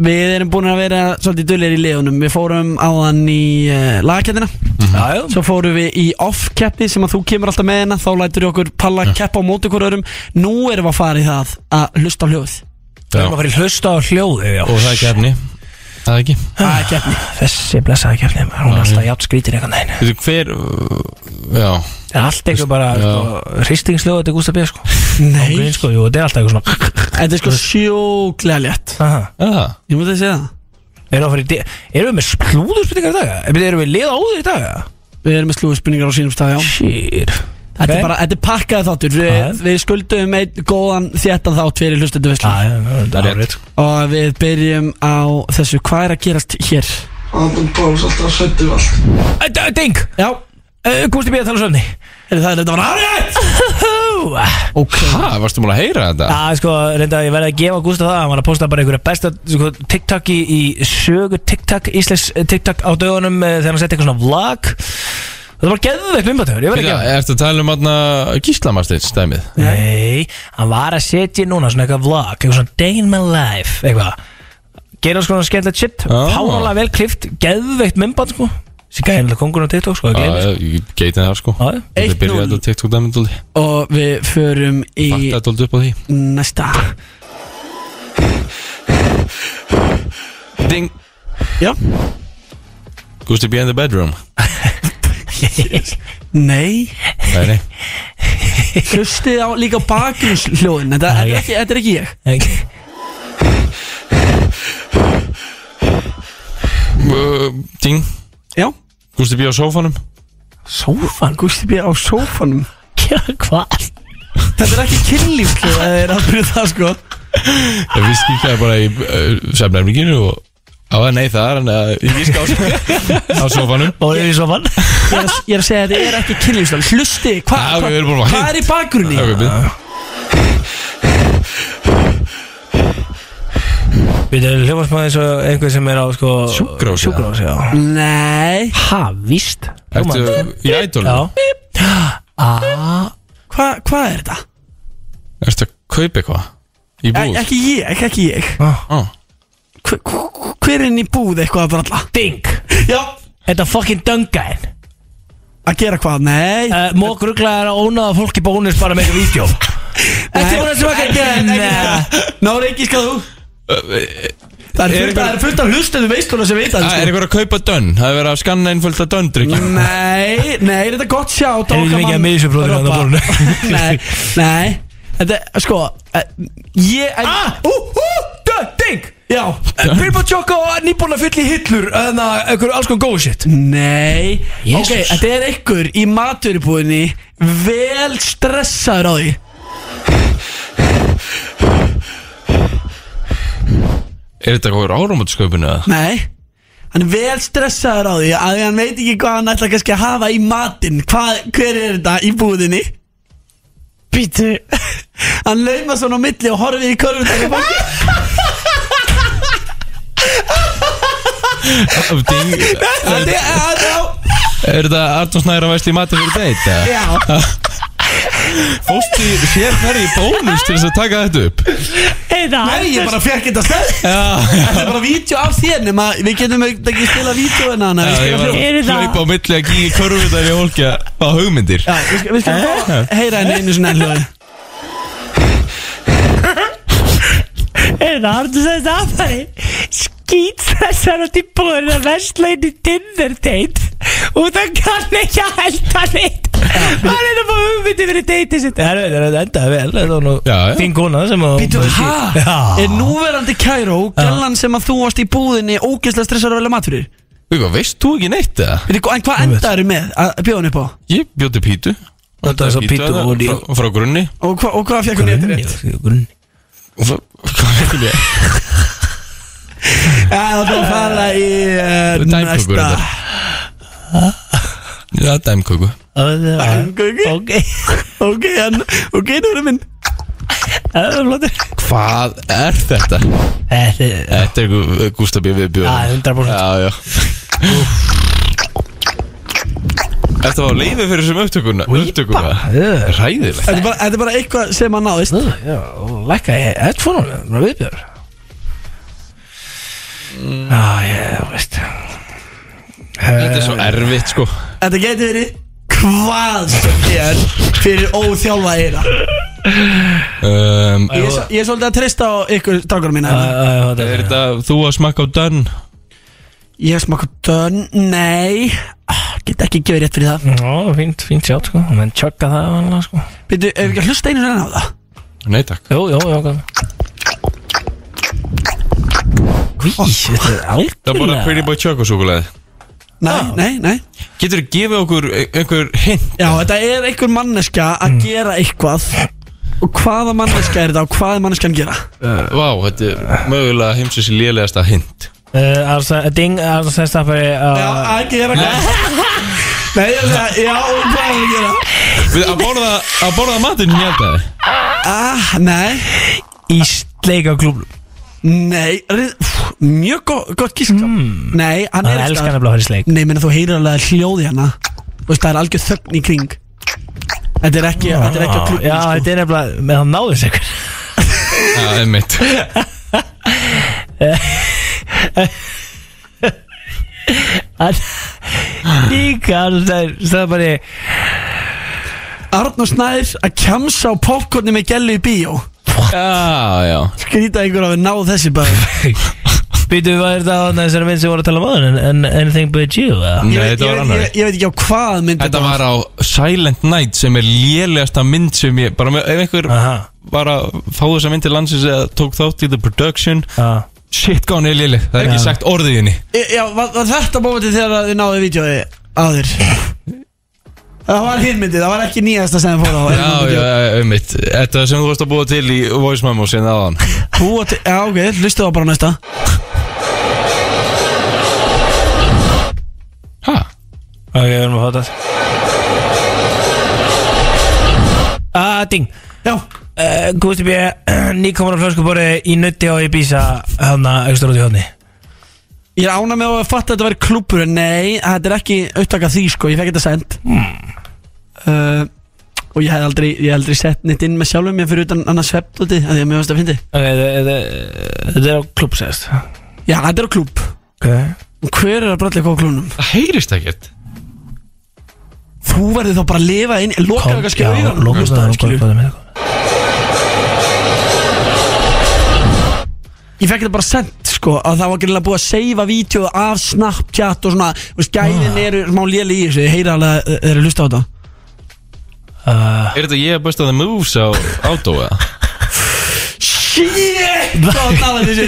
Við erum búin að vera svolítið dullir í liðunum Við fórum á hann í uh, lagakettina Jájú Svo fórum við í off-keppni sem að þú kemur alltaf með hérna Þá lætur við okkur palla keppa á móti hver örum Nú erum við að fara í það að hlusta á hljóð Það er maður fyrir hlusta á hljóðu já. Og það er kefni Það er ekki Það er keppni Þessi blessaði kefni, maður, hún er alltaf játt skrítir eitthvað neginn Þú veitur hver uh, Já Það er allt eitthvað bara, Já. sko, hristingsljóðu þetta er Gústa B, sko Nei. Ángrín, sko, jú, þetta er alltaf eitthvað svona Þetta er sko sjóklega létt Aha. Já Ég múti að segja það Erum við, að fara í di- erum við með slúðurspurningar í dag? eða? Eða Erum við lið áður í dag? eða? Við erum með slúðspurningar á sínum stað, já Shit Þetta er bara, þetta er pakkaði þáttur Við, við skuldum einn góðan þéttan þátt fyrir hlustendu veistlu Það er rétt Og við byrjum á þessu Hvað er að gerast hér? Andun Páls alltaf söttu allt Æ, Ding Já Gústi B. að tala um söfni Er það er (laughs) þetta var aðrætt Ok Ha, varstu múin að heyra þetta? Já, sko, reynda, ég verði að gefa Gústa það Hann var að posta bara einhverja besta sko, TikTok í, í sögu TikTok Íslensk eh, TikTok á dögunum eh, Þegar hann setti eitthvað svona vlog Það var geðveikt myndbættur, ég verði að Þetta gefa er að tala um aðna Gíslamarstins dæmið Nei, hann var að setja núna svona eitthvað vlog, eitthvað svona day in my life, eitthvað Gerða svona skemmtilegt shit, Já. fánalega vel klift, geðveikt mymband sko Sér gæði hennilega kongurinn á TikTok sko, Já, að gleymi sko ég- ég geti það sko Þetta 1-0. byrjaði þetta á TikTok dæmið dóldi Og við förum í Fattaði þetta dóldi upp á því næsta Ding Já Gusti B in the bedroom Nei Nei, nei Hlustið á líka bakgrunnshljóðin Þetta þetta er ekki, þetta er ekki ég Uh, Ding Já Gusti B á sófanum Sófan, Gústi B á sófanum hvað? Þetta er ekki kynlífsljóð Það er að byrja það sko Ég vissi ekki hvað bara í uh, svefnæmlinginu og á að nei það er hann eh, að ég vissi á sofanum Og ég er í sofann Ég er að- ég er að segja að þetta er ekki kynlífslag Hlusti, hvað Já, ok, við erum búin að fá hvað er í bakgrunni? Ok, bíð. Við erum hljófast maður eins og einhver sem er á sko Sjúkrós Sjúkrós, já Nei Ha, víst Ertu í Idol? Já Ah, Hvað hva er þetta? Ertu að kaupa eitthvað í búð? E ekki ég, ekki ég Ah. Hver- hver- Hver er inn í búð eitthvað að bralla? Ding Já Þetta fucking Eh, döngaðin Að gera hvað? Nei uh, Mók rugglaðar að ónaða fólki bónus bara með eitthvað (laughs) vídjó Þetta er bara sem að gera Ná reyngi skal þú Eh, Það er fullt- það er fullt af hlustöðu veistluna sem sko. veit að Ah, er eitthvað að kaupa dönn? Það er verið að skanna inn fullt af Mm. dönn Nei, nei, þetta er gott sjá Heyrðu mikið að misu, bróðir, hérna á borðinu. (laughs) Nei, nei Þetta, er, sko eh, Ég Ah, ú, ú, dö, ding Já Bilbo Eh, Choco og nýbúin að fylla í hillur Þannig að einhver alls konar góð shit Nei Ok, þetta er einhver í maturubúðinni Vel stressaður á því Er þetta eitthvað áramótskaupinu eða? Nei Hann er vel stressaður á því að hann veit ekki hvað hann ætla kannski að hafa í matinn Hvað, hver er þetta í búðinni? Býtu (laughs) Hann lauma svona á milli og horfið í körfundar Ding. Þetta er, að- já, Er þetta Arnón Snæður að væsla í matin fyrir deitt? eða? Já (laughs) Fórstu í sérferði í bónus til þess að taka þetta upp? Heiða Nei, ég bara fekk þetta stöð Það er bara vídeo af þér nema við getum auðvitað ekki spila vídeo en hana Já, ég var að hlaupa á milli að gíga körfutar í hólkja á hugmyndir Já, við skal- við skulum fá að heyra henni einu svona hljóði Er það hartu þess aðfæri? Skýt þessar út í búðurinn að versla inn í Tinder date og það kann ekki að helda neitt Hann er það bara hugmyndi fyrir date sitt Það er þetta endaði vel Það er nú já. þín kona sem að Býtu, Já hæ? Er núverandi Kæró, gallan sem að þú varst í búðinni ógeðslega stressar að velja mat fyrir? Hvað, veist þú ekki neitt eða? Veitu, En hvað endaður með að bjóða henni upp á? Ég bjóti pítu Þetta er svo pítu og frá, ég- frá grunni Og, hva, og hvað fekk hún rétt rétt? Grunni Hvað veitum ég? Já, þú ætlum að fara í uh, næsta Dæmkökur þetta Já, dæmköku Dæmkökur? Ok, ok, en, ok, nú erum minn Það er flottir Hvað er þetta? Þetta er Þetta er Gustaf B. við bjóðum Já, 100% Já, já Þetta var leiði fyrir þessum upptökuna Upptökuna Ræðilegt Þetta er bara- þetta er bara eitthvað sem að náðist Já, og lækka ég headphone-unum Það er viðbjör Já, ég veist Þetta er svo Eh. erfitt sko Þetta getur verið hvað sem er fyrir óþjálfa eira um, Ég er svo- ég er svolítið að treysta á ykkur strákarum mína hérna. Er þetta þú að smakka á dönn? Ég hef smakað dönn, nei ah, Get ekki gefið rétt fyrir það Já, fínt, fínt sjátt sko Menn tjögga það vanlega sko Býtu, ef við ekki að hlusta einu reyna á það Nei takk Jú, jú, jú hvað? Hví, þetta er algjörlega Það er bara Pretty Boy Choco súkulæði Nei, nei, nei Getur þú gefið okkur e- einhver hint? Já, þetta er einhver manneska að gera eitthvað Og hvaða manneska er þetta og hvað er manneskan að gera? Vá, þetta er mögulega heimsins í lélegasta hint Uh, altså, ding, altså, sérst það bara uh, Já, að gera hvað? Eh, (laughs) Nei, ég er það, já, og hvað er að gera? Við að borða, að borða matinn í eldaði Ah, nei Í sleikaklúblum Nei, rið- pff, mjög gott, gott kískap Nei, hann Hann er elskar nefnilega að fara í sleik. Nei, menn þú heyrir alveg hljóði hana Þú veist, það er algjör þögn í kring Þetta er ekki, Ah, þetta er ekki sko. að klubba Já, þetta er nefnilega, með það náðist (laughs) ykkur Já, (laughs) einmitt Hann Líka, hann sagði bara Arnur Snæður að kjamsa á popcorni með gellu í bíó Já, já Skrýta einhver að við náðu þessi bara Býtu, hvað er það á þessari mynd sem voru að tala um áður en anything but you eða? Nei, þetta var annar Ég veit ekki á hvað myndi Þetta var á Silent Night sem er lélegasta mynd sem ég Bara með, ef einhver var að fá þessa mynd til landsins eða tók þátt í the production Aha. Shit, hvað hún er léleg Það er ekki Já. sagt orðið Eh, í henni Já, var, var þetta mómentið þegar að þið náðu vídjói á þér? Það var hinmyndið, það var ekki nýjasta sem það fór á Já, já, einmitt Þetta sem þú varst að búa til í Voice Memo sinni aðan Búa til, já ok, lustu það bara á næsta Hæ? Ok, við erum að fá þetta Ah, ding Já Eh, uh, Gústi B, (clears throat) nýkomur á flöskubori í nutti og í bísa Hanna, aukstur út í hodni Ég er ánað með að fatta að þetta væri klúpur en Nei, þetta er ekki upptaka því sko, ég fekk þetta send uh, Og ég hef aldrei, ég hef aldrei sett neitt inn með sjálfum Mér fyrir utan annars svept úti, að því að mér varst að fyndi Ok, þetta er á klúb segist Já, þetta er á klúb okay. Hver er að bralla eitthvað á klúbnum? Það heyrist ekkert Þú verður þá bara að lifa inn Lokaðu eitthvað skilur í það Lókast það, lókast það Ég fekk þetta bara sendt sko að það var gerilega búið að seifa vídeo af Snapchat og svona Þú veist, Ah. gæðin eru smá léli í þessu Ég heyri alveg að þeir eru að hlusta á þetta Er þetta ég að besta það moves á Auto eða? Shit, það var talað þessu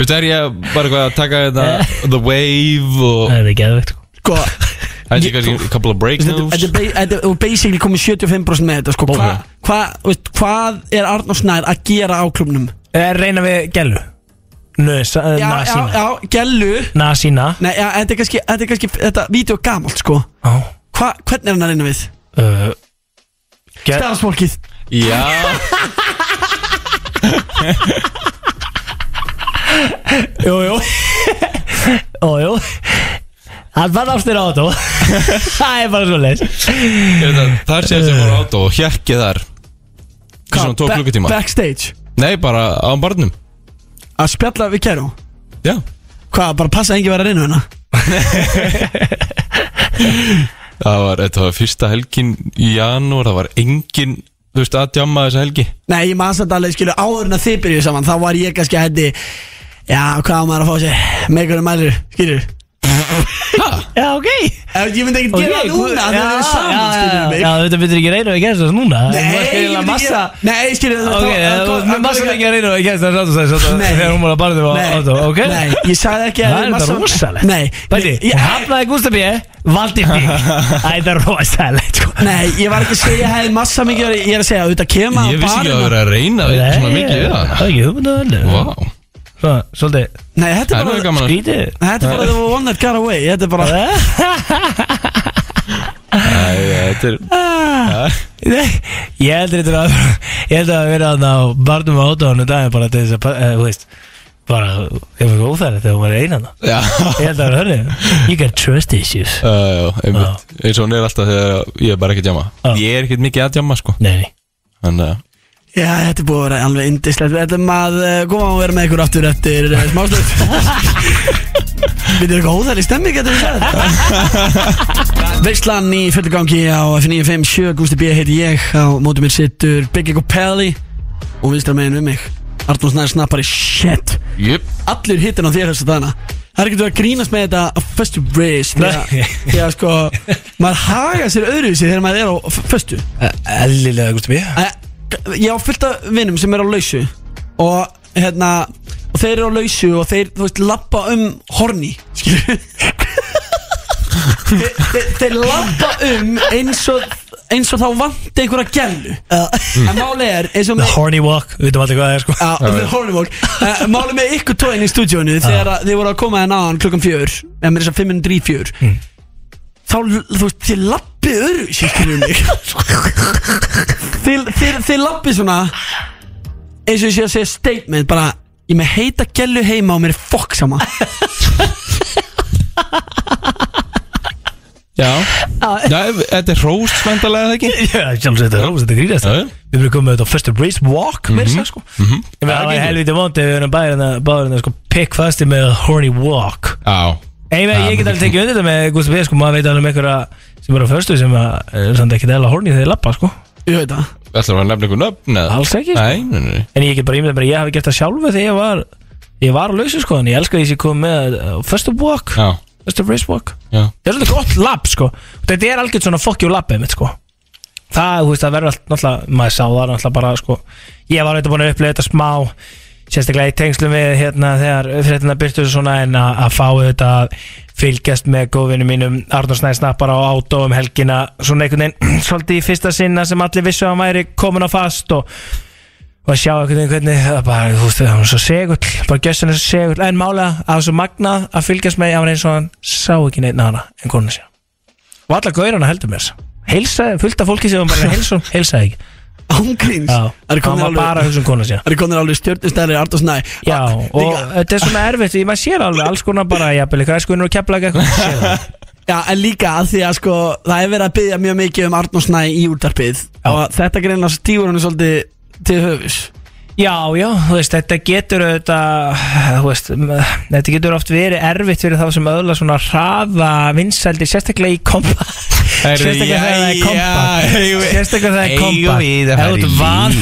Veistu, er ég bara eitthvað að taka þetta The Wave og Það er geðvegt Sko Það er kannski a couple of breakdowns Þetta er ba- þetta er basically komið 75% með þetta sko Hva, hva, þú veist, Hvað er Arnór Snær að gera á klubnum? Er Eh, reyna við gælu Nös, Já, já, nasína já, gellu Nasína Nei, já, þetta er kannski, þetta er kannski, þetta vídeo er gamalt sko Já Hva, Hvernig er hann að reyna við? uh, Eh. Starfsfólkið Já Jú, jú (laughs) Jú, jú Hann fann ástir á þetta (laughs) Það er bara svo leis Er þetta þar séð sem voru á Auto og hjekkið þar Í svona tvo klukkutíma Backstage Nei, bara á barnum Að spjalla við Kero Já Hvað, bara passa að engin vera að reyna hérna? hana? Það var, þetta var fyrsta helgin í janúar Það var engin, þú veist, að djamma þessa helgi Nei, ég maður samt alveg, skilu, áður en að þið byrjuðu saman Þá var ég kannski að hætti Já, hvað á maður að fá sér, meikur um mælur, skilur Já, ok Ég myndi ekkert gera það núna Það er saman, skilur mig Já, þetta byrjar ekki að reyna við gæst þess núna Nei, Þú varst ég myndi eiginlega ekki massa gera- Nei, skilur það Ok, eh, þú varst með massa lengi að reyna við gæst þess aðstæðis Nei. Þegar hún var að barðið á Auto, ok? Nei, ég sagði ekki að Það er þetta massa- rosalegt Nei, Bæti, ég- hún hafnaði Gústafi Valdi (laughs) mig Það er þetta rosalegt sko Nei, ég var ekki að segja að ég hefði massa mikið að- Ég er að segja, auðvitað kemur Ég vissi ekki að vera að reyna við svona mikið við Það er það ekki hugmyndaðarlega Vá Svona, svolítið Nei, þetta Það er er nú bara gaman að- Skrítið Þetta er bara the one that got away Þetta er bara Æ, Þetta er Ah. Nei, Ég heldur þetta að Ég heldur að vera þarna á barnum á átáðanum daginn bara til þess að, eh, þú veist bara, ég var ekki óþægilegt þegar hún var einan Já Ég held að vera hörni You got trust issues Já, já, einmitt Eins og hún er alltaf þegar ég er bara ekki að djamma Ég er ekkert mikið að djamma, sko eh, Nei, nei Þannig að Já, þetta er búið að vera alveg indislegt Þetta er maður að koma að vera með ykkur aftur eftir uh, smástund Við erum eitthvað óþægli stemming getur við sagði Veistlan í fullu gangi á F957 Gústi B. heiti ég Á móti mér sittur Biggie Copelli Og viðstra megin við mig Arnús Nær snappari Shit Jöp Allir hittin á þér þessu dagana Það er ekki að grínast með þetta á föstu race Nei. Þegar þegar sko Maður haga sér öðruvísi þegar maður er á f- föstu Ellilega, Gusti B Eh, Ég á fullt af vinnum sem eru á lausu Og hérna Og þeir eru á lausu og þeir, þú veist, lappa um horni Skilju þeir, þeir, þeir lappa um eins og Eins og þá vanti einhverja gellu En máli er eins og The með horny walk, við veitum aldrei hvað það er sko Já, the horny walk uh, Máli með ykkur tóin í stúdíónu Þegar að þið voru að koma hérna á hann klukkan fjör Eða með þess að 500 í fjör Mm. Þá, þú veist, þið lappið öru Skilju um mig (laughs) Þið, þið, þið lappið svona Eins og ég sé að segja statement Bara, ég er með heita gellu heima Og mér er fokk sama Já Já, þetta er hróst svendalega, það ekki? (laughs) Já, sjálfsagt þetta er rómst, þetta er grínast Já, já. Við erum komið þetta á fyrstu race walk með þess að sko Mhm. Ég meina, það var helviti vondi við erum bæðurinn að báðurinn að sko pick fasti með horny walk Já Ég, veit, ég get alveg tekið undir þetta með Gústi B sko, maður veit alveg um einhverja sem er á förstu sem að er samt ekki dæla horni þegar ég lappa sko Ég veit það Ætlar að nefna einhver nöfn? eða? Alls ekki, sko. Nei, nei, nei en ég get bara ímyndað mér að ég hafi gert það sjálfu þegar ég var ég var á lausu sko, en ég elska því sem ég kom með á förstu walk, Já, förstu race walk já það er svolítið gott lapp sko þetta er algjört svona fokkjú lappið mitt sko það, þú veist, það verður allt, náttúrulega maður sá það náttúrulega bara sko ég var auðvitað búin að upplega þetta smá sérstaklega í tengslum við hérna þegar fréttina byrtu svona en að, að fá þetta að fylgjast með góðvinni mínum Arnur Snæsnappar á átó um helgina svona einhvern veginn (clears throat) svolítið í fyrsta sinna sem allir vissu að hann væri komin á fast og og að sjá einhvern veginn hvernig það bara, þú veist, það var svo segull bara gjössin er svo segull, en málega að það var svo magnað að fylgjast með, hann var eins og hann sá ekki neitt hana en konu sér og alla gaurana heldur mér þess heilsaði, fullt af fólki sem var bara heilsum, heilsaði ekki Ángríns Já, Eru hann komnir var alveg- bara að hugsa um konu sér (laughs) Það er komin alveg stjórnustæðir Arndórs Næ Já, og þetta er svona erfitt, ég maður sér alveg alls konar bara, jafnvel, hvað er skoðinu og kepla eitthvað (laughs) Já, en líka að því að sko Það er verið að byggja mjög mikið um Arndórs Næ í útarpið Og þetta greinlega stífur hann svolítið til höfus Já, já, þú veist, þetta getur auðvitað, þú veist, m- þetta getur oft verið erfitt fyrir þá sem öðla svona hraða vinsældir, sérstaklega í kompa Herru, Sérstaklega þegar það er jæja, eigum kompa við- Sérstaklega þegar það er kompa eigum við að Ef fara þú ert í van-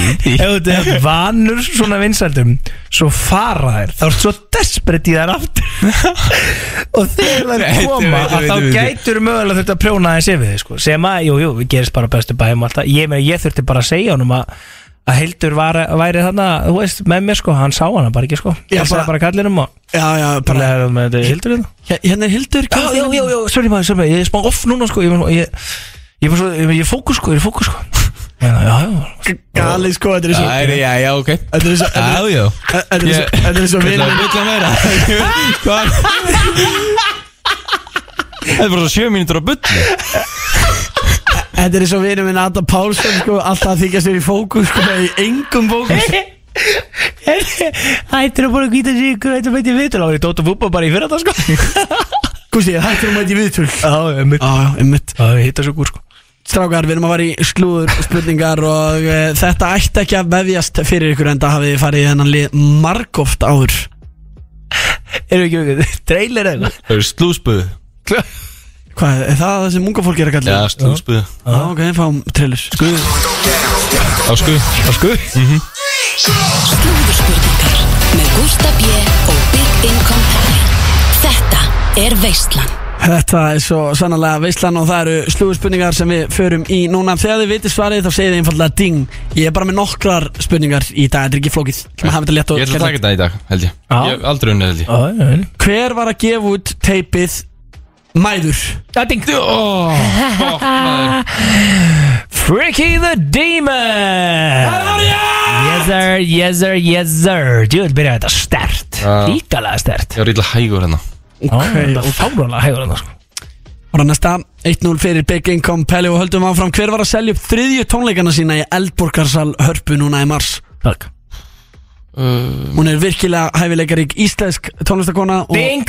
ef þú ert- (laughs) lífið? ef þú ert vanur svona vinsældum, svo fara þær, þá ert svo desperate í þær aftur (laughs) Og þegar Veitum, þær koma, veitum, að veitum, þá veitum. gætur mögulega þurft að prjóna þess yfir þig, sko Sem að, jú, jú, við gerist bara bestu bæjum alltaf Ég, meina, ég þurfti bara að segja honum að að Hildur var, væri þarna, þú veist, með mér sko, hann sá hana bara ekki sko ég Já, sagði bara- bara kallinum og Já, já, bara Leðum með þetta Hildur hérna Hérna er Hildur Já, já, já, já, sorry maður, sorry maður, ég er smá off núna sko Ég er ég, ég, ég, ég, ég er fókus sko, ég er fókus sko (laughs) Já, já, (laughs) já Gali sko, þetta er svo Það er, já, já, ok Þetta er svo Já, já Þetta er svo- þetta er svo Ég- vinur- Ég ætla að (laughs) meira Hvað? Þetta er bara svo sjö mínútur á bulli Þetta er svo vinur minn Adam Pálsson sko Alltaf þykjast verið í fókus sko Í engum fókus Hættur að búin að hvita sig ykkur Þetta veit ég vitur Það var í Dóta Búba bara í fyrir (laughs) þetta sko Gústi, hættur að mæti viðtöl Já, einmitt Já, einmitt Já, ég hitta svo gúr sko Strákar, við erum að fara í slúður spurningar og e, þetta ætti ekki að vefjast fyrir ykkur en það hafið þið farið í þennan lið margóft áður Erum við ekki okkur, trailer eða Það eru slúsbuð Hvað, er það það sem unga fólki er að kalla? Já, Sko- slúsbuð Já, ok, fáum trailer Skuð Á Mhm. skuð Á skuð Slúðurspurningar með Gústa B. og Big Income Pally. Þetta er Veistland. Þetta er svo sannlega veislan og það eru slúðspurningar sem við förum í núna Þegar þið vitið svarið þá segið þið einfallega ding Ég er bara með nokkrar spurningar í dag, þetta er ekki flókið Ég ætla Ég ætla að taka þetta í dag, held ég Ég hef aldrei unnið, held ég Hver var að gefa út teipið Mæður? Já, ding Freaky the Demon Yes sir, yes sir, yes sir Djúvel byrjaði þetta stert Líkalega stert Ég var ítla hægur hérna okay, Það er fárónlega hægur hann sko. Og það næsta, 1-0 fyrir Big Income Pelli og höldum áfram Hver var að selja upp þriðju tónleikana sína í Eldborgarsal Hörpu núna í mars? Takk Hún er virkilega hæfileikarík íslensk tónlistakona og... Ding!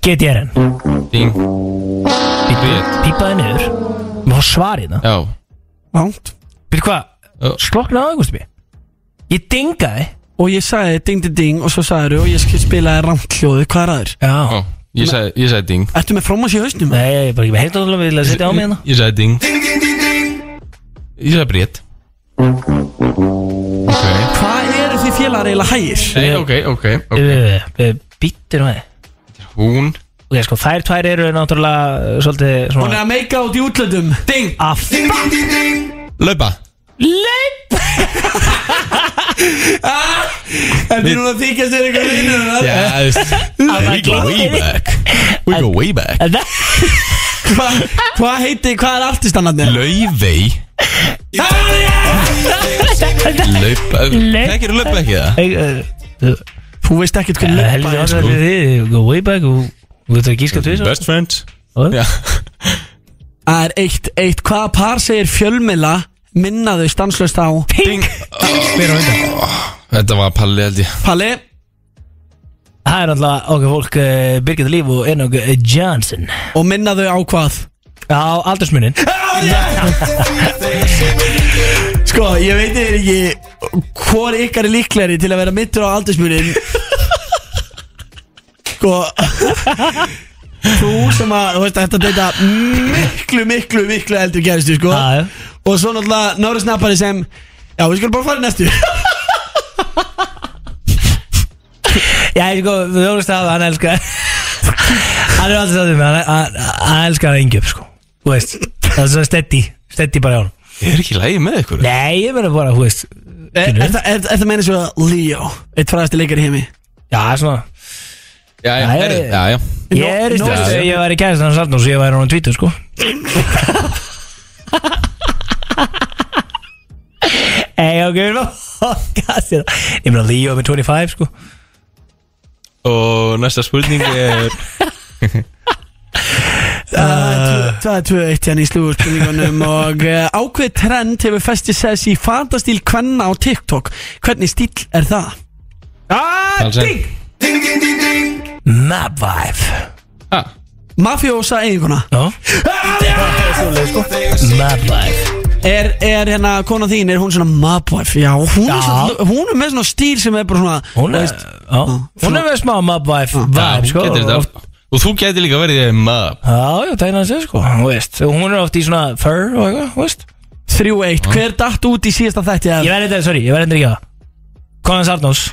Get ég henn Ding Pípaði niður Mér fór svarið það Já Vánt Býr hérna. hvað Sloknaði aðeins mér Ég dingaði Og ég sagði ding ding ding og svo sagði og ég skil spilaði rangt hljóðu, hvað er aður? Já Ó, Ég sagði, ég sagði ding Ertu með frómas í hausnum? Nei, ég er bara ekki með heiltáðlega Við vilja að setja á mig hérna Ég sagði ding Ég sagði brét Ok Hvað eru þið félagar eiginlega hægir? Nei, ok, ok, ok Býttir maður Hún Ok, sko, þær tvær eru náttúrulega uh, Svolítið Hún er svona að meika út í útlöndum Ding Af Laupa Leip En þið núna þykjast þér eitthvað vinnur Já, þú veist (laughs) We go way back We go way back Hvað hva heiti, hvað er artistannarnir? Laufey Laupa Þekkir laupa ekki það? Þú veist ekkert hvað Helgi löpa er Jónsson sko við þið Go way back og Þú veit að gíska tvið Best friends Já Það er eitt, eitt Hvaða par segir fjölmila minnaðu stanslöst á Ding Spyr á undan Þetta var Palli held ég Palli Það er alltaf okkar fólk uh, Birgit Líf og Enoch uh, Johnson og minnaðu á hvað? Á (laughs) aldursmunin Sko, ég veit þér ekki hvor ykkar er líklegri til að vera mittur á aldursmunin Sko Þú sem að, þú veist að þetta deyta miklu, miklu, miklu eldri gerðistu, sko Já, já. Og svo náttúrulega Nóri Snappari sem Já, við skulum bara fara í næstu Já, ég sko, við höfum stað Hann elskar (laughs) Hann er alltaf stað með hann- Hann hann elskar að engjöf sko Þú veist Það er svona steady Steady bara hjá hann Ég er ekki lægi með ykkur Nei, ég meina bara, þú veist Er Skilurðu? það meina svo að Leo Eitt fræðasti leikar í heimi Já, svona Já, já, Nei. herri, já, já Ég er í Já, stöðu já. Ég væri kæðist hans Arnús Ég væri hann á (laughs) tvítu sko Ei, ok, við erum að Gæðst þér Ég meina Leo með 25 sko Og næsta spurning er Það er 2-1 hérna í (laughs) slúðspurningunum og eh, ákveð trend hefur festið sess í fatastíl kvenna á TikTok Hvernig stíl er það? Ah, ding! Ding, ding, ding, ding! Map Vibe ah. Mafjósa eiginkona Já Mad wife Er, er hérna kona þín, er hún svona mad wife? Já, hún, Er, Já. svona, hún er með svona stíl sem er bara svona Hún er, veist, á, hún er með smá Map Vibe Já, Vibe hún sko getur og- þetta Og þú getur líka verið í map Já, já, það er hann að segja sko Þú veist, og Hún er oft í svona fur og eitthvað, þú veist 3-1, hver datt út í síðasta þætti Ég verði þetta, sorry, ég verði þetta ekki að það Conans Arnós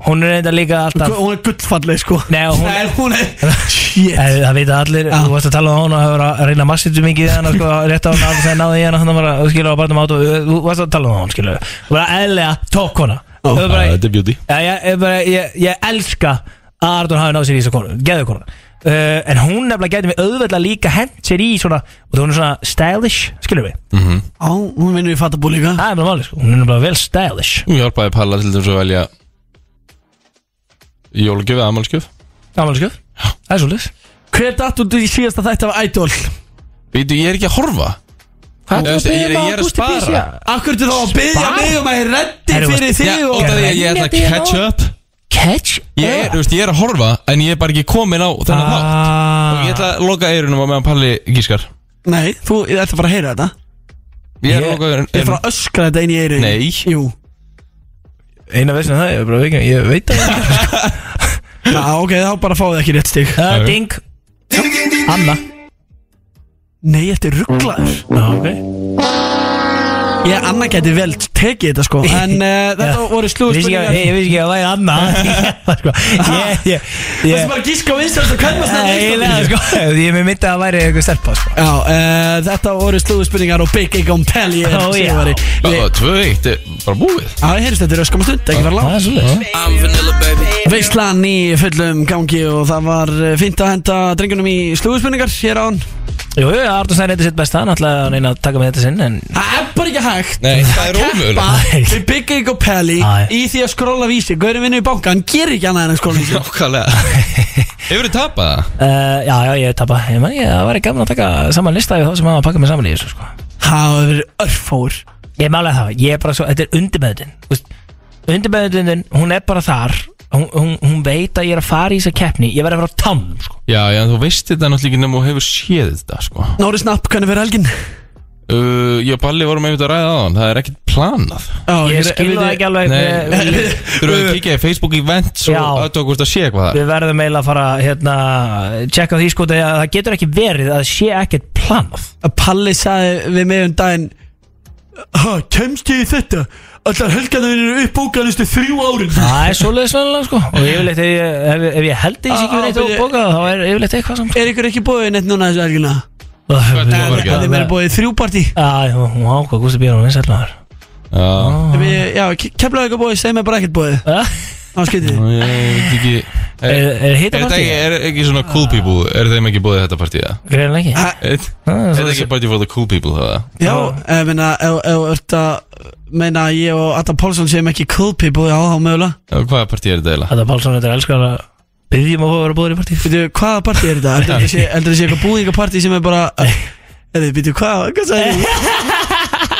Hún er reynda líka alltaf Hún er gullfalleg sko Nei, hún, Eh, Nei, hún er Shit Það vita allir, þú varst að tala um hún og hefur að reyna massitu mikið í hana sko, rétt á hann að það náði í hana þannig bara, þú skilur á barnum át og þú varst að tala um hún, skilur og bara eðlega, tók hana Já, Þú bara, Ah, Þetta er beauty Já, ég, ég, bara, ég, ég elska að Arnur hafi náð sér í þessu konu, geðu konu uh, en hún nefnilega gæti mig auðveldlega líka hent sér í svona, og það hún er svona stylish, skilur við Mhm. Á, hún vinnur í fattabúl líka Það er bara máli, sko, hún er bara vel stylish Hún hjálpaði Palla til þess að velja Jólgjöf eða amalskjöf Amalskjöf, það er svolítið Hver datt út í síðasta þætti af Idol? Veitu, ég er ekki að horfa Hvað ertu Ég að veist, ég er- biðja ég er að Gústi spara. Bísja? Af hverju ertu þá að byggja Spara? mig um að ég reddi Herru, fyrir veist, þig já, og út af því að ég ætla að Renni catch þér á- up. Catch Ég er, þú veist, ég er að horfa En ég er bara ekki komin á þennan Ah. þátt Og ég ætla að loka eyrunum á meðan Palli gískar Nei, þú ætla bara að heyra þetta Ég er að loka eyrunum Ég er bara að öskra þetta inn í eirinu Um, Nei. Jú Eina veist það, ég, er bara, veikin- ég veit það ekki, sko. Já, ok, þá bara fáið ekki rétt stig Uh, Ding Anna Nei, þetta er rugglaður Já, ok Ég, Anna geti vel tekið þetta sko (laughs) En uh, þetta voru slúið Ég ég vissi ekki að það væri Anna Sko, Ég, ég, ég Þessi bara gíska á vinstast og kallast Nei, eiginlega, sko, Ég með myndi að það væri eitthvað stelpa sko. Já, uh, þetta voru slúðspurningar og Big Egg on Pelli Ó, já. Já, tvö eitt, er bara búið Já, ég heyrðist þetta er öskum stund, ekki fara langt Það er svolítið I'm vanilla baby Oh. Veislan í fullum gangi og það var eh, fínt að henda drengunum í slúðspurningar hér á hann Jú, jú, Arnur Snær reyndi sitt besta Hann ætlaði að reyna að taka með þetta sinn En Það er bara ekki hægt Nei, það er Keppa ómögulegt við Big Egg og Pelli Æ. í því að skróla vísi Gaurin vinnu í banka, hann gerir ekki annað en að skróla vísi Nákvæmlega Hefur þið tapað það? uh, já, já, ég tapa Ég menn, ég það væri gaman að taka saman lista Í þá sem hafa að pakka með saman í þessu sko. Það hefur verið örfór Ég málega það, ég er bara svo Þetta er undirmeðutin Undirmeðutin, hún er bara þar hún, hún, hún veit að ég er að fara í þessa keppni Ég verði að vera á tann sko. Já, já, þú veist þetta náttúrulega ekki nema og hefur séð þetta, sko Nóri Snapp, hvernig verið helgin? uh, Ég og Palli vorum einmitt að ræða á hann Það er ekkert planað Ó, Ég skil það ekki alveg eh, Nei, við- við þurfum að kíkja í Facebook events Já. og aðtöku hvort að sé eitthvað það er. Við verðum eiginlega að fara hérna Tjekka á því sko þegar það getur ekki verið að sé ekkert planað að Palli sagði við mig um daginn Ha, kemst ég í þetta? Allar helgarnar eru uppbókaðnustu þrjú árin Það er svoleiðis vanlega sko Og yfirleitt ef ég, ef, ef ég held því Á, sikið á, neitt og byrju. bókað Þá er yfirleitt eitthvað samt sko. Er ykkur ekki búið neitt núna þessu helgina? Það var ekki Það er mér búið þrjúparti Já, hún ákvað Gústi Björn og vinsæl maður Já, Við- Já, kemlaðu eitthvað bóðið, segð mér bara ekkert bóðið Ha? Það var skytið ég veit ekki Er, Er, er er, hitta þetta partí? ekki, er ekki svona cool people, er þeim ekki búið þetta partíða? Greinlega ekki Er Ah, Eh. er svo- þetta ekki party for the cool people það? Já, ég meina, ef ef þú ert að meina að ég og Adam Pálsson séum ekki cool people, já, þá mögulega Hvaða partí er þetta eiginlega? Þetta er Pálsson, þetta er elskar að Byggjum að fá að vera búður í partíð Veitu, hvaða partí er þetta? Heldur þetta sé, heldur þetta sé eitthvað búðingapartí sem er bara Eða, veitu, hvað, hvað sagði ég?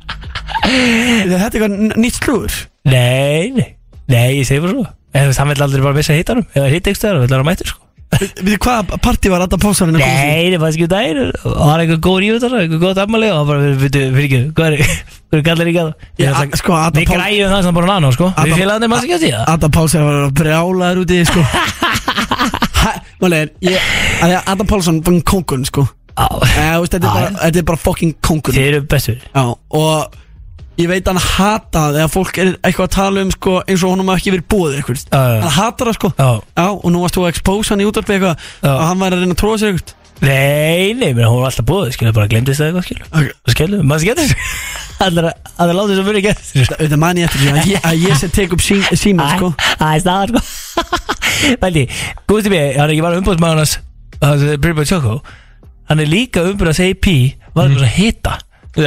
Veitu, Þetta er eitthvað n- nýtt slúður Nei, nei, nei, ég segi bara svo En þú veist, hann vil aldrei bara missa hittanum Eða hitta ykkur stöðar, hann vil vera mættur sko Veitu, hvaða partí var Adam Pálsson að koma í? Nei, það var ekki um daginn og það var eitthvað góð rífut þar, eitthvað góð ammali og það bara, veitu, fyrir ekki, hvað er hvað er kallar ekki að Já, það? a- sko, Adam Við Pál- græjum það sem bara nána, sko Við Adam- félagarnir maður ekki að því það Adam Pálsson var að brjálaður út í þig, sko Málega, ég, að því að Adam Pálsson var kongun, sko Já, Eh, þú veist, Þetta er bara- þetta er bara fucking kongun Þið eru bestur Já, og ég veit að hann hata það þegar fólk er eitthvað að tala um sko, eins og honum hafi ekki verið búið eitthvað Já, já. hann hatar það sko Já. Já, og nú varst þú að expose hann í útarpi eitthvað Já. og hann var að reyna að tróða sér eitthvað Nei, nei, menn, hún var alltaf búið, skilur bara glemdist það eitthvað, skilur Ok. (laughs) Skilur, maður ekki að þessu Allra, allra láta þess að muni ekki Þetta man ég eftir því að ég- að ég sem tek upp sí, síma sko Það er staðar (laughs) sko Vældi, Gusti B, hann er ekki bara umbúðsmaður hans hans Bribba Choco Hann er líka umbúðs AP Var eitthvað svona hita Já,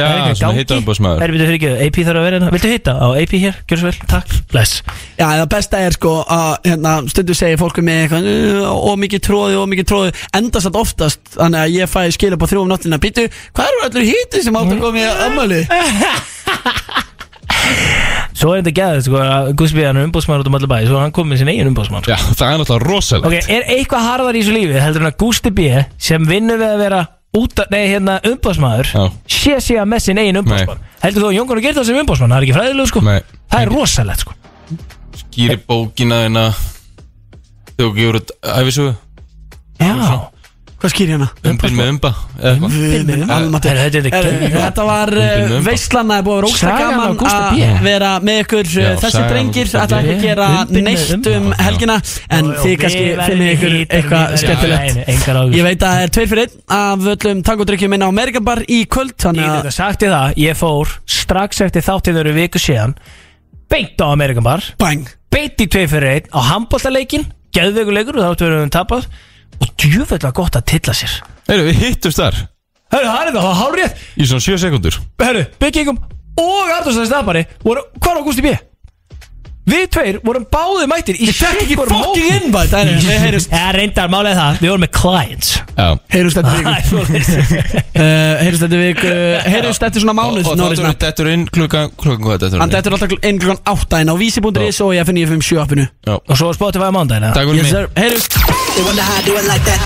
Það er eitthvað svona gangi. hitaumboðsmaður. Það er byrjuð fyrir ekki, AP þarf að vera hérna Viltu hita á AP hér, gjör svo vel, takk, bless Já, það besta er sko að hérna, stundu segir fólk með eitthvað "Ugh, ómikið tróði, ómikið tróði endast allt oftast, þannig að ég fæ skil upp á þrjú um nóttina, býtu, hvað eru allir hýti sem átt að koma í ammali? Svo er þetta gæðið, sko, að Gusti B, hann er umbúðsmaður út um allar bæði Svo hann kom með sin eigin umbúðsmaður Já, það er náttúrulega rosalegt Ok, er eitthvað harðar í þessu lífi heldur en að Gusti B sem vinnur við að vera út að, nei, hérna, umbásmaður sé sé að með sinn eigin umbásmann heldur þú að Jónkonu gerir það sem umbásmann, það er ekki fræðilegu sko nei. það er rosalegt sko Skýri bókina þeirna Þú gefur út æfisögu Já Hvað skýr hérna? Umbin með umba eða eitthvað. Umbin með umba. Almatur. Herra, þetta er Herra, geggjað. Þetta var Umbin með umba. veistlana er búið að vera ógsta Sagan af gaman Gústa B. að vera með ykkur Já, eh, þessi sagan af drengir Gústa B. ætla ekki að gera Umbin með neitt umba. um helgina Jó, en jó, þið við kannski verðum finnið í ykkur hítar, við eitthvað verðum- Já, nei, nei, engar áhyggjur. skemmtilegt Ég veit að það er tveir fyrir einn af öllum tangudrykkjum inn á Mergabar í kvöld Ég þannig get að þetta sagt í það, ég fór strax eftir þáttið þau eru viku síðan beint á Amerikan bar Bang. beint í 2 fyrir 1 á handbóltaleikin geðveikuleikur og þáttu verðum tapað og djúfellega gott að tilla sér Heyrðu, við hittumst þar Hörru, það er það, það var hálfrétt Í svona 7 sekundur Herru, byggingum og Arnúrsson Stafari voru, hvar var Gusti B? Við tveir vorum báði mættir í fékk ekki sikkur mót. fucking invite, það er- við heyrumst. Já, reyndar málið er það, við vorum með clients Já Heyrjumst eftir viku Eh, Heyrjumst eftir (laughs) viku Heyrjumst eftir svona mánuð Og Norris þetta Knapp. er dettur inn klukkan Klukkan hvað þetta Hann er dættur alltaf inn klukkan 8 inn á vísi.is og ég finn ég 57 appinu Já Og svo spotið var á mándagina Takk fyrir mig Heyrjumst They wonder how I do it like that.